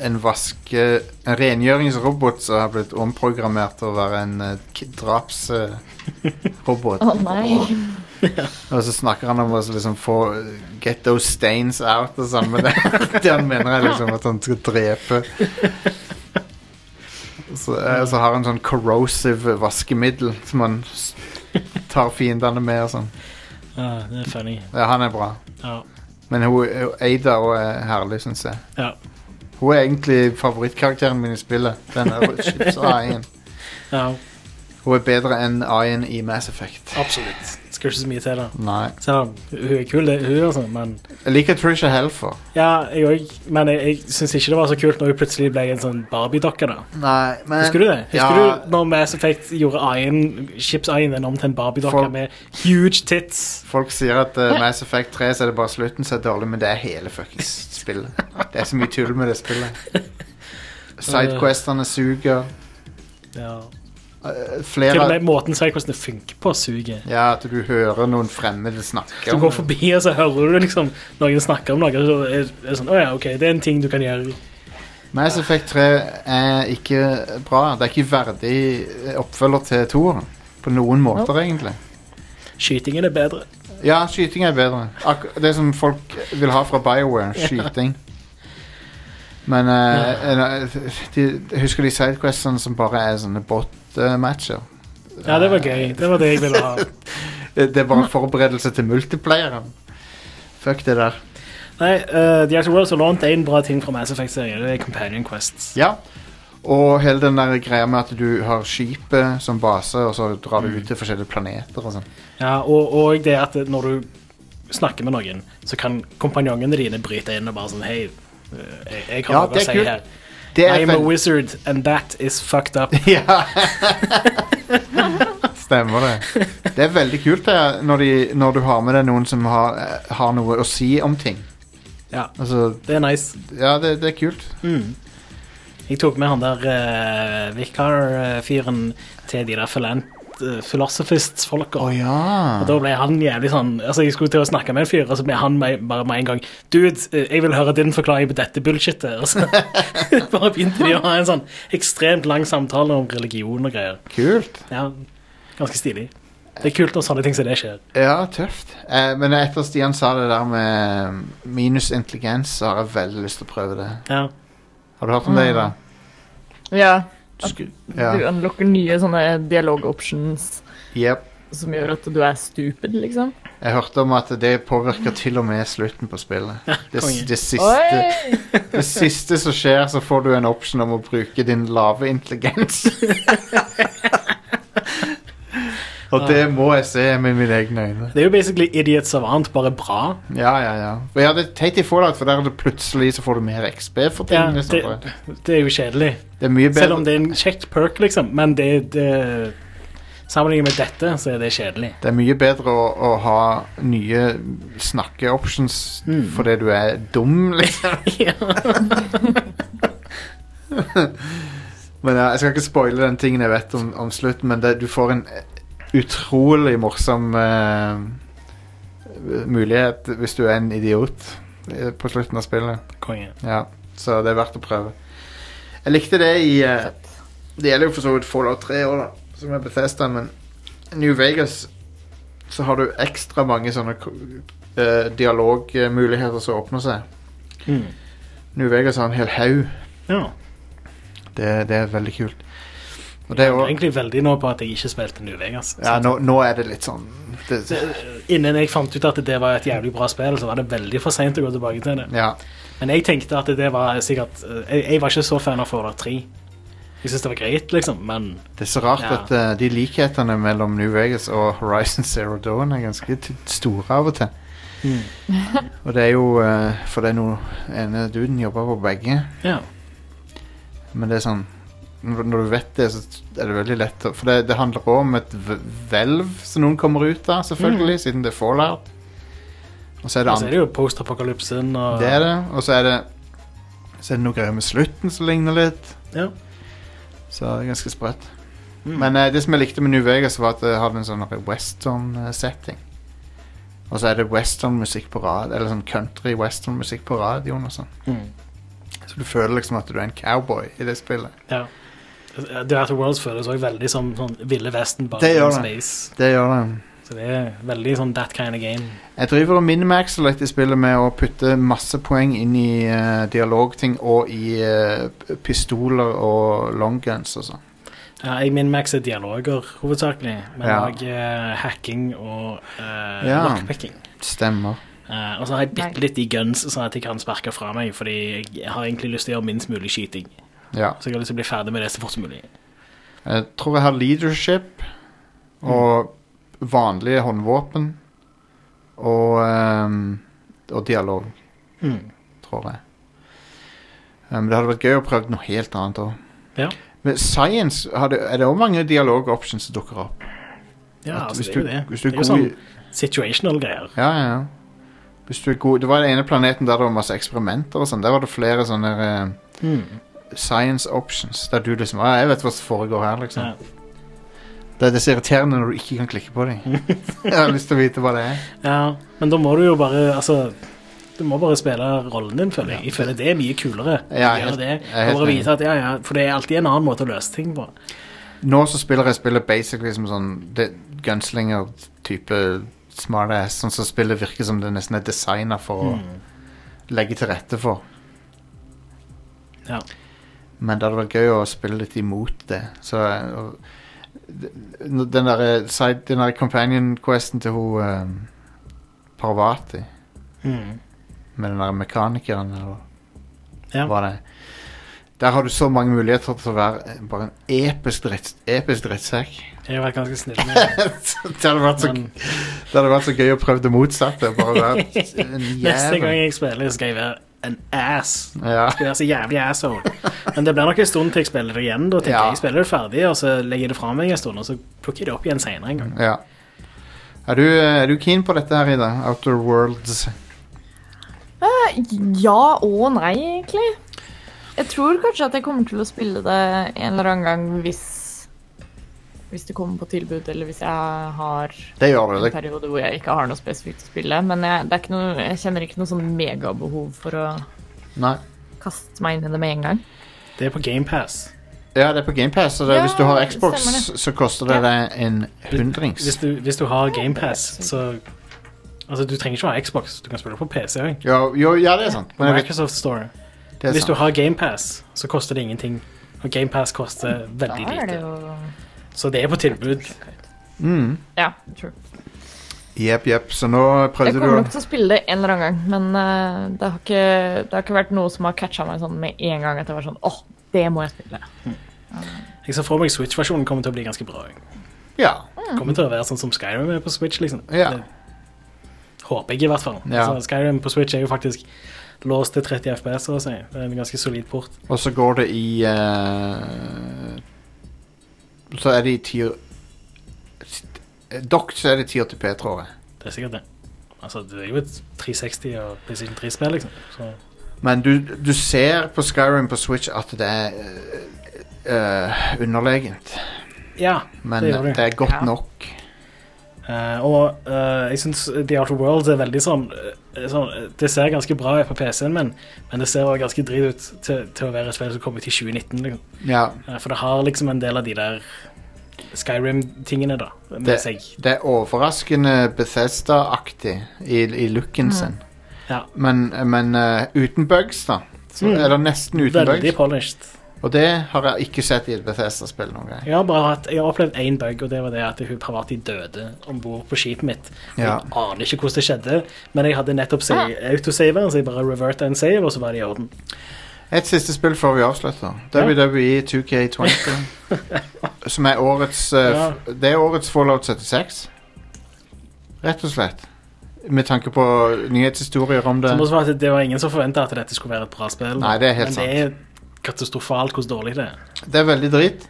En vaske... En rengjøringsrobot som har blitt omprogrammert til å være en eh, drapsrobot.
Å nei.
Og så snakker han om å liksom få Get those stains out og sånn. Men det, det han mener er liksom at han skal drepe. Så, eh, så har han sånn corrosive vaskemiddel som han s- tar fiendene med og sånn.
Ja, det er funny.
Ja, han er bra.
Ja.
Men hun, hun- Ada hun er herlig, syns jeg.
ja.
Hun er egentlig favorittkarakteren min i spillet. Den er chips-AI-en.
ja.
Hun er bedre enn AI-en i Mass Effect.
Absolutt. Skal ikke så mye til, da.
Nei.
Selv om hun er kul, det, hun, altså, men
Jeg liker Trisha Helfer.
Ja, jeg òg. Men jeg, jeg syns ikke det var så kult når hun plutselig ble en sånn Barbie-dokke, da.
Nei, men
Husker du det? Husker
ja,
du når Mass Effect gjorde Iron, Chips Iron den om til en Barbie-dokke
For-
med huge tits?
Folk sier at eh, Mass Effect 3 så er det bare slutten som er dårlig, men det er hele fuckings spillet. Det er så mye tull med det spillet. Sidequestene suger.
Ja.
Eh,
Til og
Flere
med måten sidequestene funker på, suger.
Ja, at du hører noen fremmede
Du
snakke om
går forbi, og så hører du liksom noen snakke om noe, og så er er det sånn Å ja, OK, det er en ting du kan gjøre.
det. Mass Effect 3 er ikke bra. Det er ikke verdig eh, oppfølger til toeren. På noen måter, egentlig.
Skytingen er bedre.
Ja, skyting er bedre. Ak det som folk vil ha fra BioWare. Skyting. Men eh, eh, de, jeg husker de sidequestene som bare er sånne bot-matcher.
Ja, det var gøy. Det var det jeg ville ha.
Det, Eh, det er bare en forberedelse til multiplayeren. Fuck det der.
Nei, uh, The Actual World så lånt en bra ting fra Mass Effect-serien. Det er Companion Quests.
Ja. Og hele den der greia med at du har skipet Mm. som base, og så drar du ut til forskjellige planeter og sånn.
Ja, og, og det at når du snakker med noen, så kan kompanjongene dine bryte inn og bare sånn Hei, eh, jeg, jeg har
Ja,
noe
det
å
er
si
kult.
her.
Det er
I'm a
fen-
wizard, and that is fucked up.
Ja. Stemmer det. Det er veldig kult det, når, de, når du har med deg noen som har, eh, har noe å si om ting.
Ja,
Altså,
det er nice.
ja, det, det er kult.
Jeg tok med han der eh, vikar-fyren til de der philan- eh, philosophists-folka.
Å ja.
Da ble han jævlig sånn Altså Jeg skulle til å snakke med en fyr, og så ble han meg, bare med en gang Dude, eh, jeg vil høre din forklaring på dette bullshitet. Og så bare begynte de å ha en sånn ekstremt lang samtale om religion og greier.
Kult.
Ja, Ganske stilig. Det er kult når sånne ting som det skjer.
Ja, tøft. Eh, men etter Stian sa det der med mm, minus intelligens, så har jeg veldig lyst til å prøve det.
Ja,
Har du hørt om det, Ida?
Ja,
Du sku-
Mm. du
Ja.
unlocker nye sånne dialog-options
Yep.
som gjør at du er stupid, liksom.
Jeg hørte om at det påvirker til og med slutten på spillet. Det,
konge.
det, siste,
Oi!
det siste som skjer, så får du en option om å bruke din lave intelligens. Og det må jeg se med mine egne øyne.
Det er jo basically idiot savant, bare bra.
Ja, ja, ja. Og ja, det er teit i Fallout, for der er det plutselig så får du mer XB for ting.
Ja,
liksom.
det, det er jo kjedelig.
det er mye bedre.
Selv om det er en kjekt perk, liksom. Men det, det Sammenlignet med dette, så er det kjedelig.
Det er mye bedre å, å ha nye snakkeoptions fordi du er dum, liksom.
Ja.
Men ja, Jeg skal ikke spoile den tingen jeg vet om, om slutten, men det, du får en utrolig morsom eh, mulighet hvis du er en idiot eh, på slutten av spillet.
Konge.
Ja, Så det er verdt å prøve. Jeg likte det i eh, Det gjelder jo for så vidt Fallout 3 òg, da, som er Bethesda, men New Vegas så har du ekstra mange sånne ko- eh, dialogmuligheter som åpner seg.
Mm.
New Vegas har en hel haug.
Ja.
Det, det er veldig kult. Og det er
Jeg er
jo
egentlig veldig nå på at jeg ikke spilte New Vegas.
Ja, nå, nå er det litt sånn det,
Innen jeg fant ut at det var et jævlig bra spill, så var det veldig for seint å gå tilbake til det.
Ja.
Men jeg tenkte at det var sikkert eh, Jeg, jeg var ikke så fan av Fallout 3. Jeg syns det var greit, liksom, men
Det er så rart
Ja.
at eh, de likhetene mellom New Vegas og Horizon Zero Dawn er ganske t store av og til.
Mm.
og det er jo eh, For det er noe ene duden jobber på begge,
ja.
men det er sånn når når du vet det, så er det veldig lett å For det, det handler òg om et v- hvelv som noen kommer ut av, selvfølgelig, siden det er fallout. Og så er det
Mm. Og så
andre
er det jo post-apokalypsen og
Det er det. Og så er det Så er det noe greier med slutten som ligner litt.
Ja.
Så det er ganske sprøtt. Men eh, det som jeg likte med New Vegas, var at det hadde en sånn western-setting. Og så er det western-musikk på rad Eller sånn country-western-musikk på radioen og sånn.
Mm.
Så du føler liksom at du er en cowboy i det spillet.
ja. The Outer Worlds føles òg veldig som sånn Ville Vesten, bare
Det gjør
in
det.
space.
Det gjør det.
Så det er veldig sånn that kind of game.
Jeg driver og minimaxer litt i spillet med å putte masse poeng inn i eh, dialogting og i eh, p- pistoler og longguns og sånn.
Ja, jeg minmaxer dialoger hovedsakelig, men
Ja.
òg hacking og uh,
Ja.
lockpicking.
Stemmer.
Eh, og så har jeg bitte litt i guns, sånn at jeg kan sparke fra meg, fordi jeg har egentlig lyst til å gjøre minst mulig skyting.
Ja.
Så jeg har lyst til å bli ferdig med det så fort som mulig.
Jeg tror jeg har leadership og vanlige håndvåpen og, ehm, og dialog,
Mm.
tror jeg. Ehm, Men det hadde vært gøy å prøve noe helt annet òg.
Ja.
Men science har det- er det òg mange dialogoptions som dukker opp.
Ja,
At
altså,
hvis
det er jo
du-
det.
hvis du er
det er jo
god
sånn
i-
situational greier.
Ja, ja, ja. Hvis du er god Det var den ene planeten der det var masse eksperimenter og sånn. Der var det flere sånne eh, science options der du liksom ah, 'Jeg vet hva som foregår her', liksom.
Ja.
Det, det er så irriterende når du ikke kan klikke på dem. jeg har lyst til å vite hva det er.
Ja, men da må du jo bare Altså, du må bare spille rollen din, føler jeg. Jeg føler det er mye kulere. å
Ja, jeg er
gjøre
helt-
det.
jeg er helt
Og bare
enig.
vite at, ja, ja, for det er alltid en annen måte å løse ting på.
Nå så spiller jeg spillet basically som sånn det- gunslinger-type smartass. Sånn som spillet virker som det nesten er designa for
Mm.
å legge til rette for.
Ja.
Men det hadde vært gøy å spille litt imot det. Så eh, og, d- Den derre side- den der companion-questen til hun eh, Parvati
Mm.
med den der mekanikeren eller
Ja.
hva det er Der har du så mange muligheter til å være eh, bare en episk, dritt, episk drittsekk.
Jeg har vært ganske snill med
Så det, hadde vært så,
Men-
det hadde vært så gøy å prøve det motsatte. Bare være en
Neste gang
jævel.
jeg spiller, skal jeg være en ass.
Ja.
Jeg skal være så jævlig asshole. Men det blir nok en stund til jeg spiller det igjen. Da tenker
Ja.
jeg, jeg spiller det ferdig, og så legger jeg det fra meg en stund, og så plukker jeg det opp igjen senere en gang.
Ja. Er du, eh, er du keen på dette her, Ida? Outer Worlds.
Eh, Ja og nei, egentlig. Jeg tror kanskje at jeg kommer til å spille det en eller annen gang hvis Hvis det kommer på tilbud, eller hvis jeg har
Det gjør du.
en
Det,
periode hvor jeg ikke har noe spesifikt å spille. Men jeg, det er ikke noe, jeg kjenner ikke noe sånn megabehov for å
nei.
kaste meg inn i det med en gang.
Det er på GamePass.
Ja, det er på GamePass, så det,
Ja,
hvis du har
det
Xbox,
stemmer
så koster det deg en hundrings.
Hvis, du- hvis du har GamePass, så Altså, du trenger ikke å ha Xbox, du kan spille på PC òg.
Jo, jo, ja, det er sant. Men jeg vet,
Microsoft Store.
det er
Hvis du
sant.
har GamePass, så koster det ingenting. Og GamePass koster veldig
Da er det
lite.
jo
Så det er på tilbud.
Mm.
Ja, true.
Jepp, jepp. Så nå
Jeg
prøvde du
kommer
å
nok til å spille det en eller annen gang, men eh, det, har ikke, det har ikke vært noe som har catcha meg sånn med en gang at jeg var sånn åh, det må jeg spille.
Jeg ser for meg Switch-versjonen kommer til å bli ganske bra. jeg.
Ja.
Kommer til å være sånn som Skyrim er på Switch, liksom.
Ja.
Det Håper jeg, i hvert fall.
Ja.
Altså, Skyrim på Switch er jo faktisk låst til 30 FPS, så å si. Det er en ganske solid port.
Og så går det i eh, Så er det i tier Dock så er det tier til P, tror jeg.
Det er sikkert det. Altså, det er jo et 360 og PlayStation 3-spill, liksom. Så
Men du, du ser på Skyrim på Switch at det er eh, eh, underlegent.
ja,
Men
det gjør
det,
det.
er godt
Ja.
nok.
Eh, og eh, jeg syns The Outer Worlds er veldig sånn, eh, sånn eh, Det ser ganske bra ut på PC-en min, men det ser også ganske drit ut til, til å være et spill som kom ut i 2019. Liksom.
Ja.
Eh, For det har liksom en del av de der Skyrim-tingene, da. Med
Det,
seg.
det er overraskende Bethesda-aktig i, i looken sin.
Ja.
Men, men eh, uten bugs, da. Så,
Mm.
Eller nesten uten
Veldig
bugs.
polished.
Og det har jeg ikke sett i et Bethesda-spill noen gang.
Jeg har bare hatt, jeg har opplevd én bug, og det var det at hun Parvati døde om bord på skipet mitt. Og
Ja.
Jeg aner ikke hvordan det skjedde, men jeg hadde nettopp sa- autosaveren, så jeg bare reverta en save, og så var det i orden.
Et siste spill før vi avslutter. E WWE 2K20. som er årets eh,
Ja.
f- Det er årets Fallout 76. Rett og slett. Med tanke på nyhetshistorier om det.
Det, må svare at det var ingen som forventa at dette skulle være et bra spill.
Nei, det er helt
men det er katastrofalt hvor dårlig det er.
Det er veldig drit.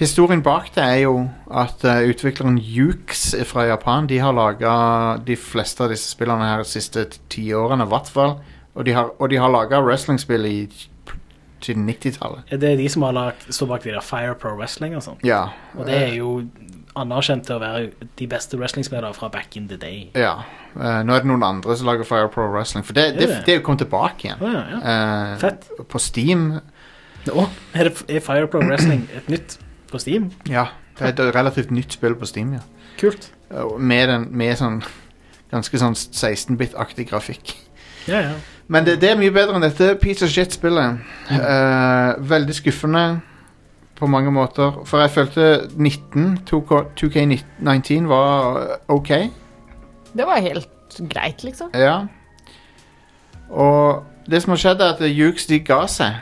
Historien bak det er jo at eh, utvikleren Yuke's fra Japan De har laga de fleste av disse spillene her de siste ti- ti årene, i hvert fall. Og de har, og de har laga wrestlingspill i, til 90-tallet.
Det er de som har lagt, står bak de der Fire Pro Wrestling og sånn.
Ja.
Og det
Eh.
er jo anerkjent til å være de beste wrestlingspillere fra back in the day.
ja. Eh, nå er det noen andre som lager Fire Pro Wrestling. For det,
Er
det, det,
det?
er jo kommet tilbake igjen.
Å, ja, ja.
Eh,
Fett.
På Steam.
Nå er, det, er Fire Pro Wrestling et nytt på Steam.
Ja. Det er et relativt nytt spill på Steam, ja.
Kult.
Eh, Med, den, med sånn ganske sånn 16-bit-aktig grafikk.
Ja, ja.
Men det, det er mye bedre enn dette piece of shit-spillet. Eh, veldig skuffende på mange måter. For jeg følte 19, 2K, 2K19 var eh, OK.
Det var helt greit, liksom.
Ja. Og det som har skjedd, er at Hughes de ga seg.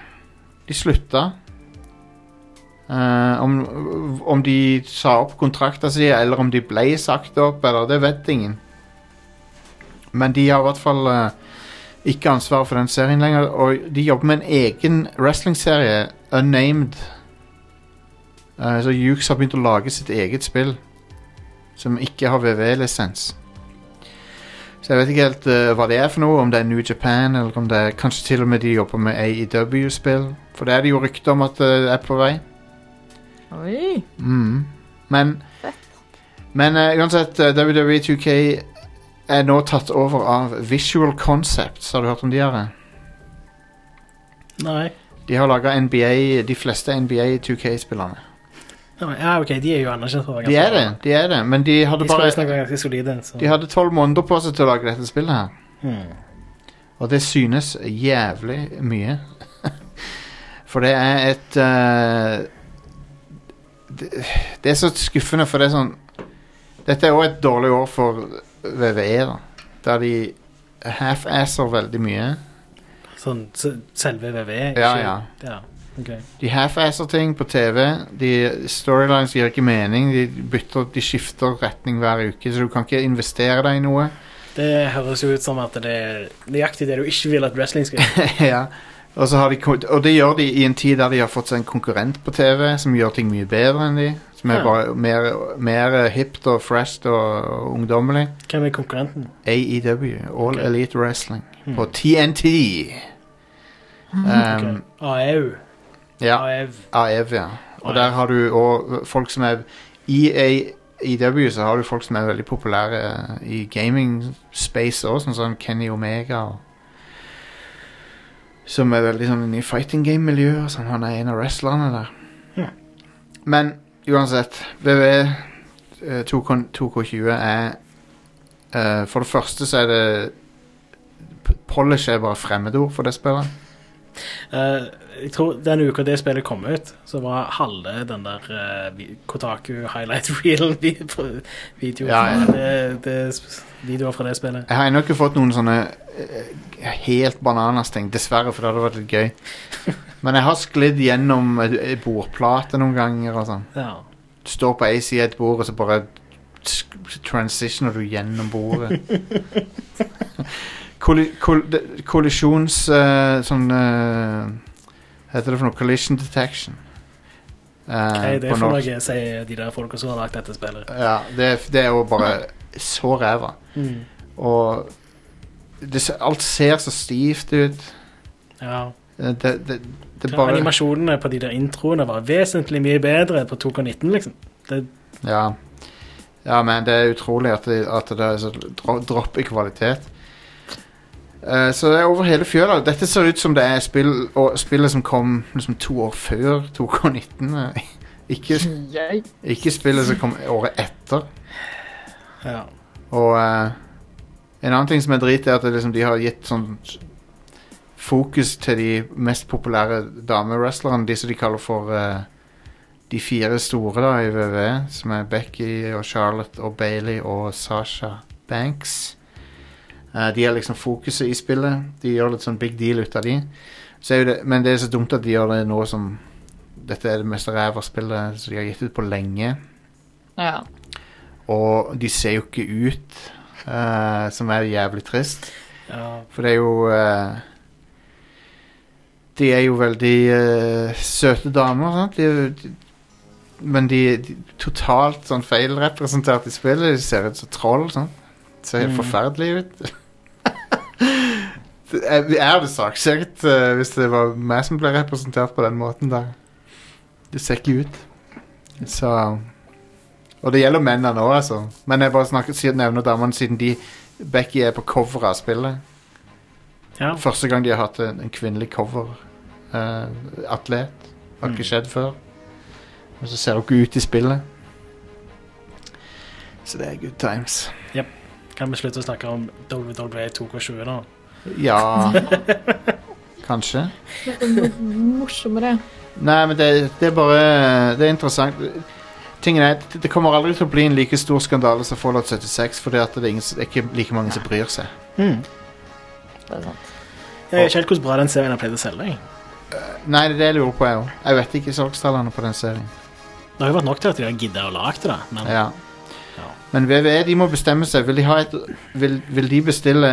De slutta. Eh, om, om de sa opp kontrakta si, eller om de ble sagt opp, eller det vet ingen. Men de har i hvert fall eh, ikke ansvar for den serien lenger. Og de jobber med en egen wrestlingserie, Unnamed. Eh, så Hughes har begynt å lage sitt eget spill, som ikke har VV-lisens. Så jeg vet ikke helt eh, hva det er for noe, om det er New Japan, eller om det er kanskje til og med de jobber med AEW-spill. For det er det jo rykter om at det er på vei.
Oi.
Mm. Men, men eh, uansett, eh, WWE 2K er nå tatt over av Visual Concepts. Har du hørt om de her?
Nei.
De har laga NBA, de fleste NBA 2K-spillerne.
Ja, OK, de er jo anerkjent for å være
De er
bra.
det, de er det, men de hadde
De skal visstnok
bare
være ganske solide. Så.
De hadde tolv måneder på seg til å lage dette spillet her.
Hmm.
Og det synes jævlig mye. for det er et eh, det, det er så skuffende, for det er sånn Dette er òg et dårlig år E, for VVE, da. Der de half-asser veldig mye.
Sånn s- selve VV?
Ja,
ikke-
ja.
ja. ok.
De half-asser ting på TV. De Storylines gir ikke mening. De, bytter, de skifter retning hver uke, så du kan ikke investere deg i noe.
Det høres jo ut som at det er nøyaktig det du ikke vil at wrestling skal gjøre.
ja. og, så har de, kon- og det gjør de i en tid der de har fått seg en konkurrent på TV som gjør ting mye bedre enn de. Som er
Ja.
bare mer, mer eh, hipt og fresht og, og ungdommelig.
Hvem er konkurrenten?
AEW, All
Ok.
Elite Wrestling,
Hmm.
på TNT. Um,
Ok. E AEU.
Ja,
AEV.
AEW, ja. Ah, Og
AEV.
der har du òg folk som er E I AEW så har du folk som er veldig populære eh, i gaming-space òg, sånn som Kenny Omega og Som er veldig sånn i fighting game-miljøet. og Sånn, han er en av wrestlerne der.
Ja.
Men uansett WWE eh, 2K 2K20 er eh, For det første så er det p- Polish er bare fremmedord for det spillet.
Eh, jeg tror Den uka det spillet kom ut, så var halve den der eh, vi- Kotaku highlight reel vi- på- videoen
Ja, ja.
fra det- det sp- videoer fra det spillet.
Jeg har ennå ikke fått noen sånne eh, helt bananas ting, dessverre, for det hadde vært litt gøy. Men jeg har sklidd gjennom ei bordplate noen ganger og sånn.
Ja.
Står på ei side av et bord, og så bare sk- transitioner du gjennom bordet. Kolli- koll- de- Kollisjons... eh, sånn eh, Heter det for noe? Collision detection. Eh,
Hei, det
på
er for
norsk.
noe, sier de der folka som har lagd dette spillet.
Ja, det, er- det er jo bare så ræva.
Mm.
Og det, se- alt ser så stivt ut.
Ja.
Det, det, det, det
Ja,
bare
Animasjonene på de der introene var vesentlig mye bedre på 2K19, liksom. Det,
Ja. ja, men det er utrolig at det, at det er så dro, dropp i kvalitet. Eh, så det er over hele fjøla. Dette ser ut som det er spill, og, spillet som kom liksom, to år før 2K19. eh. Ikke,
Jeg.
ikke spillet som kom året etter.
ja.
Og eh, en annen ting som er drit, er at det, liksom, de har gitt sånn fokus til de mest populære damewrestlerne. De som de kaller for eh, de fire store da i WW, som er Becky og Charlotte og Bailey og Sasha Banks. Eh, de er liksom fokuset i spillet. De gjør litt sånn big deal ut av de. Så er jo det, men det er så dumt at de gjør det nå som dette er det mest ræva spillet som de har gitt ut på lenge.
Ja.
Og de ser jo ikke ut, eh, som er jævlig trist.
ja.
For det er jo eh, De er jo veldig eh, søte damer, sant? De, er jo- de, men de er totalt sånn feilrepresentert i spillet. De ser ut som troll. Sant? De ser helt
Mm.
forferdelige ut. Det er- er det saksøkt eh, hvis det var meg som ble representert på den måten der? Det ser ikke ut. Så Og det gjelder mennene òg, altså. Men jeg bare snakker, sier- nevner damene siden de Becky er på coveret av spillet.
ja.
Første gang de har hatt en, en kvinnelig cover-atlet. har ikke
Mm.
skjedd før. Og så ser hun ikke ut i spillet. Så det er good times.
Kan vi slutte å snakke om E WWE 2K20 nå?
Ja Kanskje.
Morsommere.
Nei, men det, det er bare Det er interessant. Tingen er, at Det kommer aldri til å bli en like stor skandale som Fallout 76, fordi at det er, ingen, det er ikke like mange som bryr seg.
Det er sant.
Jeg vet ikke helt hvor bra den serien har pleid å selge. jeg.
Nei, det er det jeg lurer på, jeg òg. Jeg vet ikke salgstallene på den serien.
Det har jo vært nok til at de har giddet å lage det, men
Ja.
Ja.
Men VVE de må bestemme seg. Vil de, ha et, vil, vil de bestille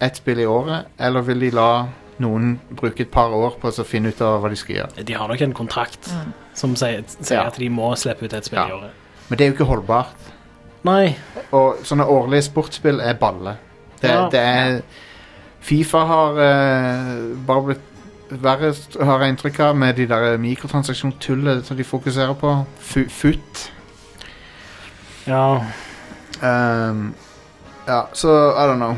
ett spill i året, eller vil de la noen bruke et par år på å finne ut av hva de skal gjøre?
de har nok en kontrakt som sier, sier
Ja.
at de må slippe ut et spill
Ja.
i året.
Men det er jo ikke holdbart.
Nei,
Og sånne årlige sportsspill er balle. Det,
Ja.
det er Fifa har eh, bare blitt verre, har jeg inntrykk av, med de der mikrotransaksjonstullet som de fokuserer på. Fu- FUT.
ja,
Ehm, ja, så I don't know.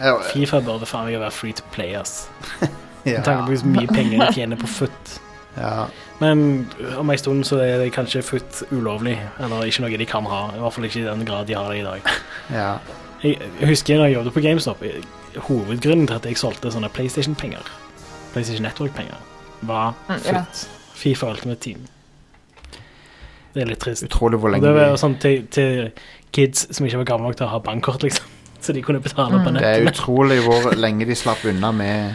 Ja,
Fifa burde faen meg være free to play, ass. Med
ja,
tanke på hvor mye penger de tjener på foot.
ja.
Men om en stund så er det kanskje foot ulovlig, eller ikke noe de kan ha. I hvert fall ikke i den grad de har det i dag.
ja.
Jeg jeg husker da jeg jobbet på GameStop, jeg- hovedgrunnen til at jeg solgte sånne PlayStation-penger, PlayStation Network-penger, var
Mm, ja.
Fifa Ultimate Team. Det er litt trist.
Utrolig hvor
Og
lenge
det var jo
de
sånn til, til kids som ikke var gamle nok til å ha bankkort, liksom. Så de kunne betale på
Det er
nettet.
utrolig hvor lenge de slapp unna med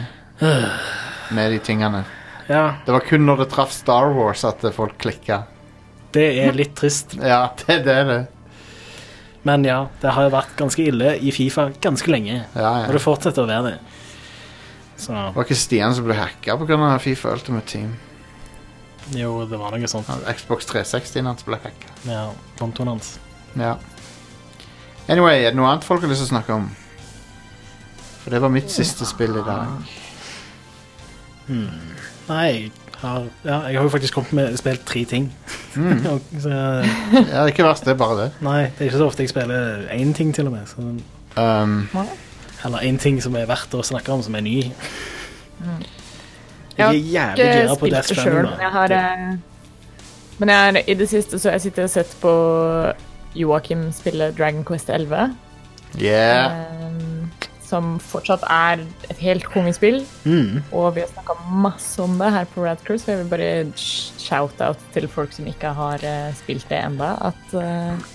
Med de tingene.
Ja,
Det var kun når det traff Star Wars at eh, folk klikka.
det er litt trist.
Ja, det, det er det.
Men ja, det har jo vært ganske ille i Fifa ganske lenge.
Ja,
Og
ja.
det fortsetter å være det. Så
Det var ikke Stian som ble hacka pga. Fifa Ultimate Team.
jo, det var noe sånt.
Han- Xbox 360-en hans ble hacka.
Ja, kontoen hans.
Ja. Anyway, er det noe annet folk har lyst til å snakke om? For det var mitt siste spill i
Ah.
dag.
Nei, jeg har, ja, jeg har jo faktisk kommet med spilt tre ting.
Mm.
Og så,
Ja, det er ikke verst, det er bare det.
nei, det er ikke så ofte jeg spiller én ting, til og med. Så,
Um,
eller én ting som er verdt å snakke om, som er ny.
Jeg har
Jeg er jævlig gira på
spilt
Death
det selv,
Stranding.
men jeg har eh, Men jeg er, i det siste så har jeg sittet og sett på Joakim spille Dragon Quest 11.
yeah.
eh, som fortsatt er et helt kongespill.
Mm.
Og vi har snakka masse om det her på Radcruise, så jeg vil bare shout-out til folk som ikke har eh, spilt det enda, at eh,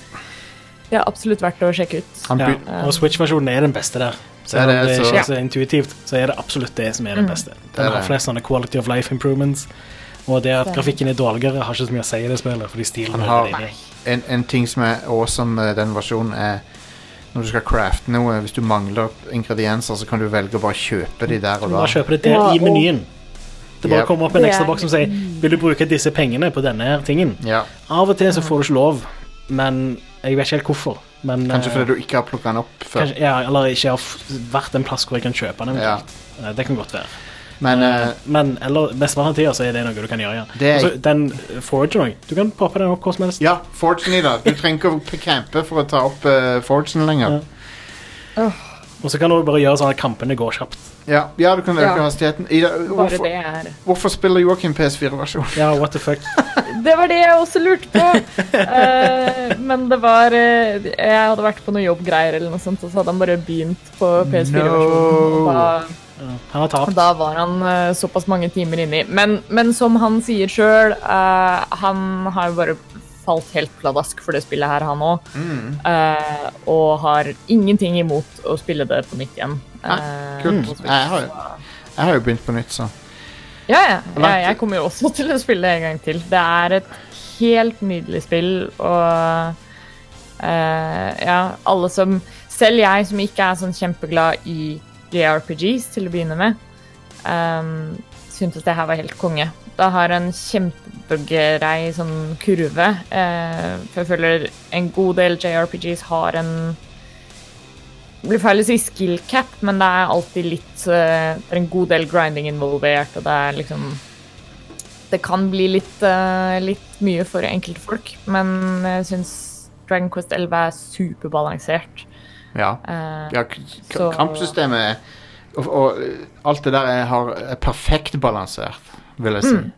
det er absolutt verdt å sjekke ut.
Han,
Ja,
be
og Switch-versjonen er den beste der. Så
Ja,
det
det er
er
så-
ikke så intuitivt, så er det absolutt det som er
Mm.
den beste.
Det er
Den har
det.
flest sånne quality of life improvements, og det at grafikken er dårligere, har ikke så mye å si i det spillet, fordi stilen
Han
er
har-
deilig.
en, en ting som er awesome med den versjonen, er når du skal crafte noe, hvis du mangler ingredienser, så kan du velge å bare kjøpe de der og da.
Bare kjøper det der
Ja,
i
og-
menyen. Det bare
Yep.
kommer opp en
Det
ekstra
er-
boks som sier 'Vil du bruke disse pengene på denne her tingen?'
Ja.
Av og til så får du ikke lov, men jeg vet ikke helt hvorfor. Men,
Kanskje
eh,
fordi du ikke har plukka den opp før.
kanskje, ja, Eller ikke har f- vært en plass hvor jeg kan kjøpe den.
Ja.
Eh, Det kan godt være.
Men eh,
Men eller, mesteparten av tida så er det noe du kan gjøre. ja.
Det er-
Altså, den forageren Du kan poppe den opp hvor som helst.
ja, Fortune i dag. Du trenger ikke å campe for å ta opp uh, Fortune lenger.
Og så kan du bare gjøre sånn at kampene går kjapt.
Ja, ja du kan øke
Ja.
hastigheten. I, dag-
Bare
hvorfor,
det er
hvorfor spiller Joakim PS4-versjon?
Ja, what the fuck.
Det var det jeg også lurte på. Eh, men det var eh, Jeg hadde vært på noen jobbgreier, eller noe sånt, og så hadde han bare begynt på PS4-versjonen.
No.
Da,
Han har tapt.
da var han eh, såpass mange timer inni. Men, men som han sier sjøl, han har jo bare falt helt pladask for det spillet her, han òg. og har ingenting imot å spille det på nytt igjen. Eh,
Kult.
på Switch.
Nei, Jeg har, jo- jeg har jo begynt på nytt, så.
Ja, ja.
langt-
Jeg, jeg kommer jo også til å spille det en gang til. Det er et helt nydelig spill, og eh, ja, alle som Selv jeg som ikke er sånn kjempeglad i JRPGs til å begynne med, um, syntes det her var helt konge. Det har en kjempegrei sånn kurve. eh, for jeg føler en god del JRPGs har en det blir feil å si skill cap, men det er alltid litt eh, Det er en god del grinding involvert, og det er liksom Det kan bli litt, eh, litt mye for enkelte folk, men jeg syns Dragon Quest 11 er superbalansert.
Ja.
Eh,
ja k- k-
så-
kampsystemet er- og, og eh, alt det der er, har, er perfekt balansert, vil jeg si.
Mm.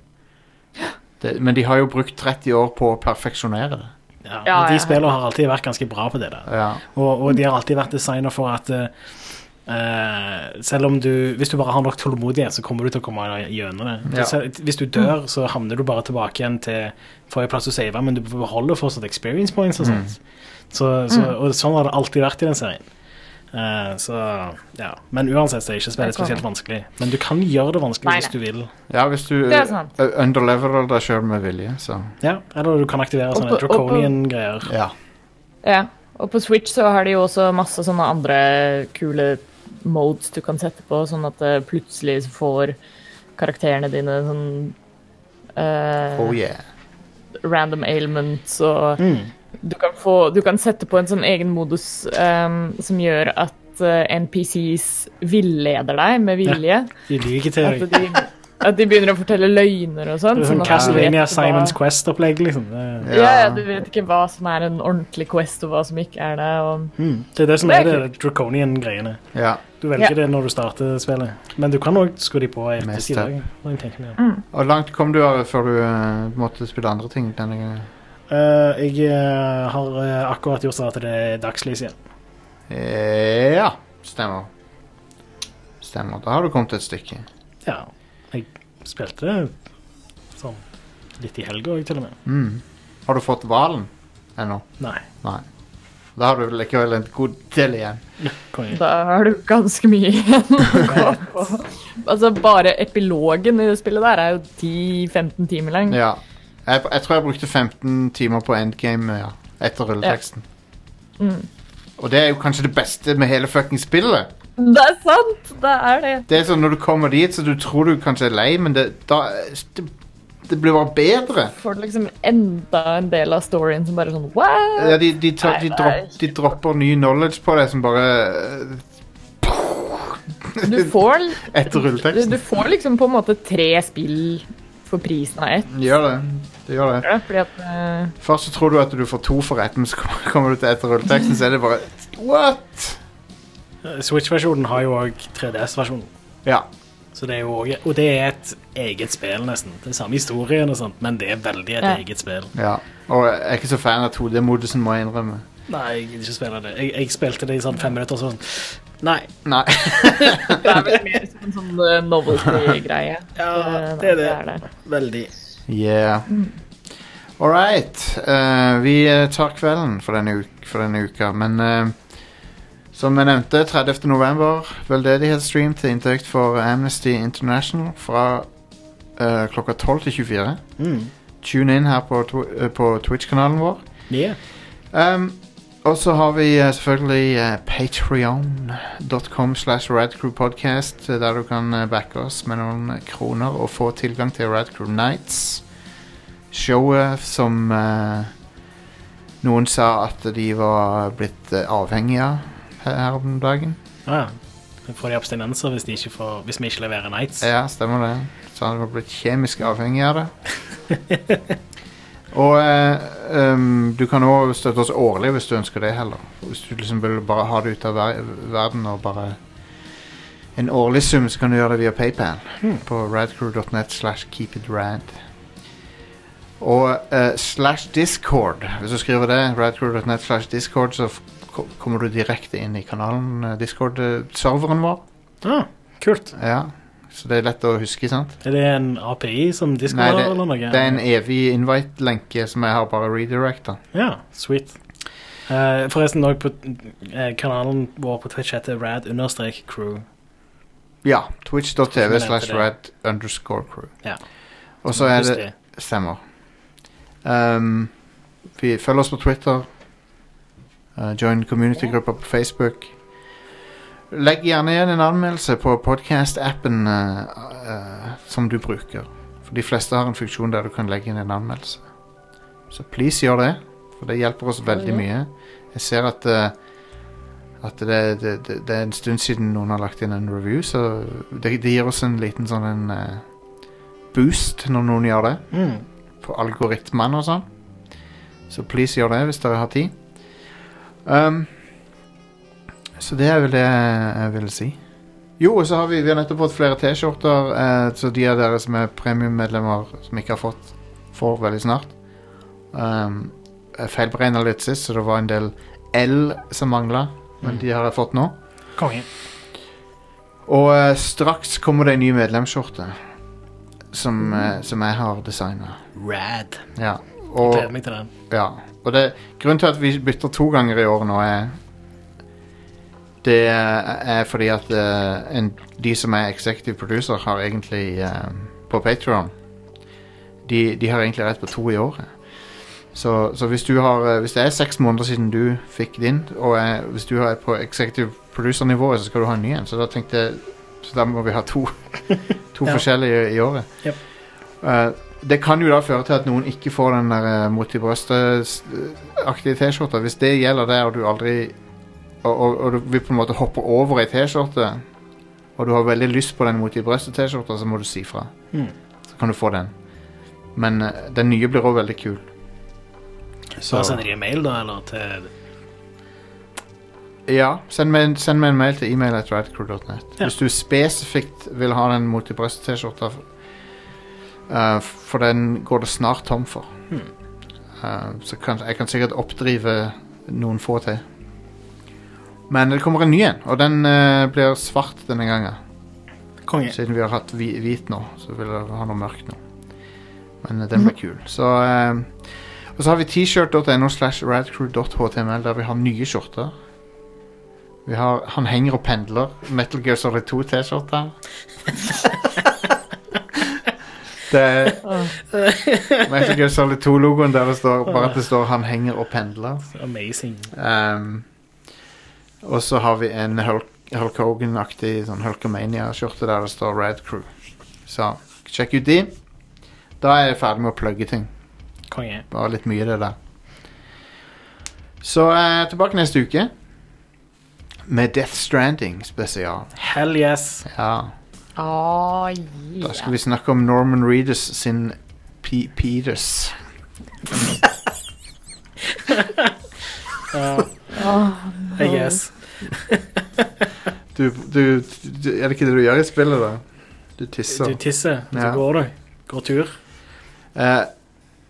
Det, men de har jo brukt 30 år på å perfeksjonere det.
Ja,
Ja,
men
ja.
de spillene har alltid vært ganske bra på det der.
Ja.
Og, og de har alltid vært designa for at eh, eh, selv om du Hvis du bare har nok tålmodighet, så kommer du til å komme gjennom det.
Ja.
Selv- Hvis du dør, så havner du bare tilbake igjen til forrige plass du sava, men du beholder fortsatt experience points og sånt. Så, så, og sånn har det alltid vært i den serien. Eh, så ja. Men uansett så er ikke spillet
Det kommer.
spesielt vanskelig. Men du kan gjøre det vanskelig
Nei,
hvis du vil.
ja, hvis du
Det er sant.
eh, underleverer deg sjøl med vilje, så
Ja, eller du kan aktivere sånne
på- og på-
draconian-greier.
Ja.
Ja, og på Switch så har de jo også masse sånne andre kule modes du kan sette på, sånn at eh, plutselig så får karakterene dine sånn eh,
Oh yeah. Mm.
random ailments og du, kan få, du kan sette på en sånn egen modus ehm, som gjør at eh, NPCs villeder deg med vilje.
De liker til
At,
deg.
de, at de begynner å fortelle løgner og sånn.
Det er sånn
at du vet
Castlevania
ikke hva-
Simons Quest-opplegg, liksom. Det,
Ja. ja, du vet ikke hva som er en ordentlig quest, og hva som ikke er det. Og...
det er det som
Det
er
er
det draconian-greiene.
Ja.
Du velger
Ja.
det når du starter spillet. Men du kan òg skru de på i
Mest
ettertid.
her.
også, når jeg tenker meg om.
Og langt kom du Are, før du eh, måtte spille andre ting denne gangen?
Eh, jeg eh, har eh, akkurat gjort sånn at det er dagslys igjen.
Eh, ja. Stemmer. Stemmer. Da har du kommet et stykke.
Ja. Jeg spilte sånn litt i helga òg, til og med.
Har du fått hvalen ennå?
Nei.
Nei. Da har du likevel en god del igjen.
Konge.
Da har du ganske mye igjen å gå på. Altså, bare epilogen i det spillet der er jo 10-15 timer lang.
Ja. Jeg, jeg tror jeg brukte 15 timer på endgame ja, etter rulleteksten.
Mm.
Og det er jo kanskje det beste med hele fucking spillet.
Det er sant! Det er det.
Det er sånn Når du kommer dit, så du tror du kanskje er lei, men det, da, det, det blir bare bedre.
Får du liksom enda en del av storyen som bare sånn what?
Ja, de, de, tar, de,
Nei, det er
dropp, de dropper ny knowledge på deg som bare
Du får,
Etter
du,
rulleteksten.
du får liksom på en måte tre spill for prisen av ett.
Gjør det. Det gjør det.
Fordi at eh,
Først så tror du at du får to for ett, men så kommer- kommer du til etter rulleteksten, så er det bare What?!
Eh, Switch-versjonen har jo òg 3DS-versjonen.
Ja.
Så det er jo også, Og det er et eget spill, nesten. Det er samme historien og sånt, men det er veldig et
Ja.
eget spill.
ja. Og jeg er ikke så fan av 2D-modusen, må jeg innrømme.
Nei, jeg gidder ikke spille det. Jeg, jeg spilte det i sånn fem minutter, og så var det sånn Nei.
Nei.
det er vel mer som en sånn eh, novelty-greie.
Ja,
Eh,
det er det.
er det.
Veldig.
Yeah. All right. eh, vi eh, tar kvelden for denne, uk for denne uka, men eh, som jeg nevnte, 30. november, veldedighetsstream til inntekt for Amnesty International fra eh, klokka 12 til 24.
Mm.
Tune inn her på, tw eh, på Twitch-kanalen vår.
Ja.
Um, og så har vi eh, selvfølgelig uh, patreon.com slash radcrewpodcast, eh, der du kan eh, backe oss med noen kroner og få tilgang til Radcrew Nights. Showet som eh, noen sa at de var blitt eh, avhengige av her- her om dagen.
Ah, ja. Får de abstinenser hvis, de ikke får, hvis vi ikke leverer Nights?
Ja, stemmer det. Så han var blitt kjemisk avhengig av det. Og eh, um, du kan òg støtte oss årlig hvis du ønsker det heller. Hvis du liksom vil bare ha det ut av ver verden og bare en årlig sum, så kan du gjøre det via PayPal på radcrew.net slash keepitrad. Og eh, slash discord. Hvis du skriver det, radcrew.net slash discord, så f ko- kommer du direkte inn i kanalen, eh, discord-serveren vår.
Ah, kult.
Ja, så det er lett å huske, sant?
Er det en API som Discord
Nei, det,
har, eller noe?
det er en evig invite-lenke som jeg har bare redirecta.
Ja, sweet. Eh, forresten òg på eh, kanalen vår på Twitch heter rad-crew.
Ja. Twitch.tv
nevnte
slash
det.
rad underscore crew.
Ja.
Og så er
Husk
det Stemmer. Um, vi følger oss på Twitter. Uh, join community-gruppa på Facebook. Legg gjerne igjen en anmeldelse på podcast-appen uh, uh, som du bruker. For de fleste har en funksjon der du kan legge inn en anmeldelse. Så please gjør det, for det hjelper oss veldig mye. Jeg ser at uh, at det, det, det, det er en stund siden noen har lagt inn en review, så det, det gir oss en liten sånn en uh, boost når noen gjør det
Mm.
på algoritmene og sånn. Så please gjør det hvis dere har tid. Um, så det er vel det jeg ville si. Jo, og så har vi, vi har nettopp fått flere T-skjorter, eh, så de av dere som er premiummedlemmer som ikke har fått, får veldig snart. Um, jeg feilberegna litt sist, så det var en del L som mangla, men de har jeg fått nå.
Konge.
Og eh, straks kommer det en ny medlemsskjorte som, eh, som jeg har designa.
Rad.
Ja. Og,
Gleder meg til den.
ja. Og det, grunnen til at vi bytter to ganger i år nå, er Det er fordi at eh, en, de som er executive producer, har egentlig eh, På Patreon de, de har egentlig rett på to i året. Så, så hvis du har eh, Hvis det er seks måneder siden du fikk din, og eh, hvis du er på executive producer-nivået, så skal du ha en ny en. Så da tenkte jeg Så da må vi ha to, to
Ja.
forskjellige i året.
Yep.
Eh, det kan jo da føre til at noen ikke får den der eh, mot i brøstet-aktige T-skjorta. Hvis det gjelder der, og du aldri Og, og, og du vil på en måte hoppe over ei T-skjorte, og du har veldig lyst på den mot i brøstet-T-skjorta, så må du si fra.
Mm.
Så kan du få den. Men eh, den nye blir òg veldig kul. Altså,
Så sender de en mail, da, eller til
Ja, send meg, en- send meg en mail til email at radcrew.net.
Ja.
Hvis du spesifikt vil ha den mot i brøstet-T-skjorta, eh, for den går det snart tom for.
Hmm.
Eh, så kan, jeg kan sikkert oppdrive noen få til. Men det kommer en ny en, og den eh, blir svart denne gangen.
Konge.
Siden vi har hatt hvi-
Mhm.
hvit nå, så vil jeg ha noe mørkt nå. Men eh, den blir kul. Så eh, Og så har vi tshirt.no slash radcrew.html, der vi har nye skjorter. Vi har Han henger og pendler. Metal Gear Solid 2-T-skjorter. det er Metal Gear Solid 2-logoen der det står bare at det står 'Han henger og pendler'.
Amazing.
Um, og så har vi en Hulk, Hulk Hogan-aktig sånn Hulkamania-skjorte der det står Rad Crew. Så sjekk ut de. Da er jeg ferdig med å plugge ting.
Konge.
Det var litt mye det der. Så eh, tilbake neste uke med Death Stranding spesial.
Hell yes.
Ja,
Ah,
da
yeah.
skal vi snakke om Norman Reedus sin P Peters.
Ja, I guess.
Du, du, du, er det ikke det du gjør i spillet, da? Du tisser.
Du tisser, og så
Ja.
går du. Går tur.
Eh,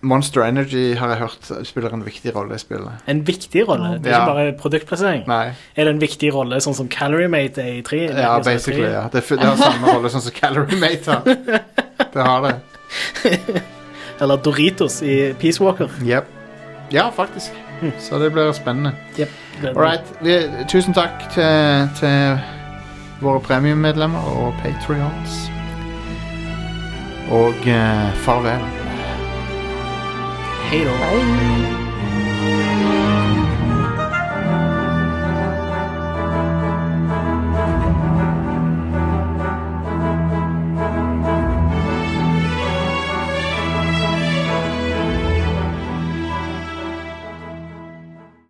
Monster Energy har jeg hørt spiller en viktig rolle i spillet.
En viktig rolle. Det er
Ja.
ikke bare produktplassering.
Nei.
Er det en viktig rolle sånn som Calorie Mate er i 3?
Ja, basically. ja. Det, f- det har samme rolle sånn som Calorie Mate har. Det har det.
Eller Doritos i Peace Walker.
Yep. Ja, faktisk.
Hm.
Så det blir spennende.
Yep.
Alright, vi, tusen takk til, til våre premiummedlemmer og Patreons. Og eh, farvel.
Hei da.
Bye.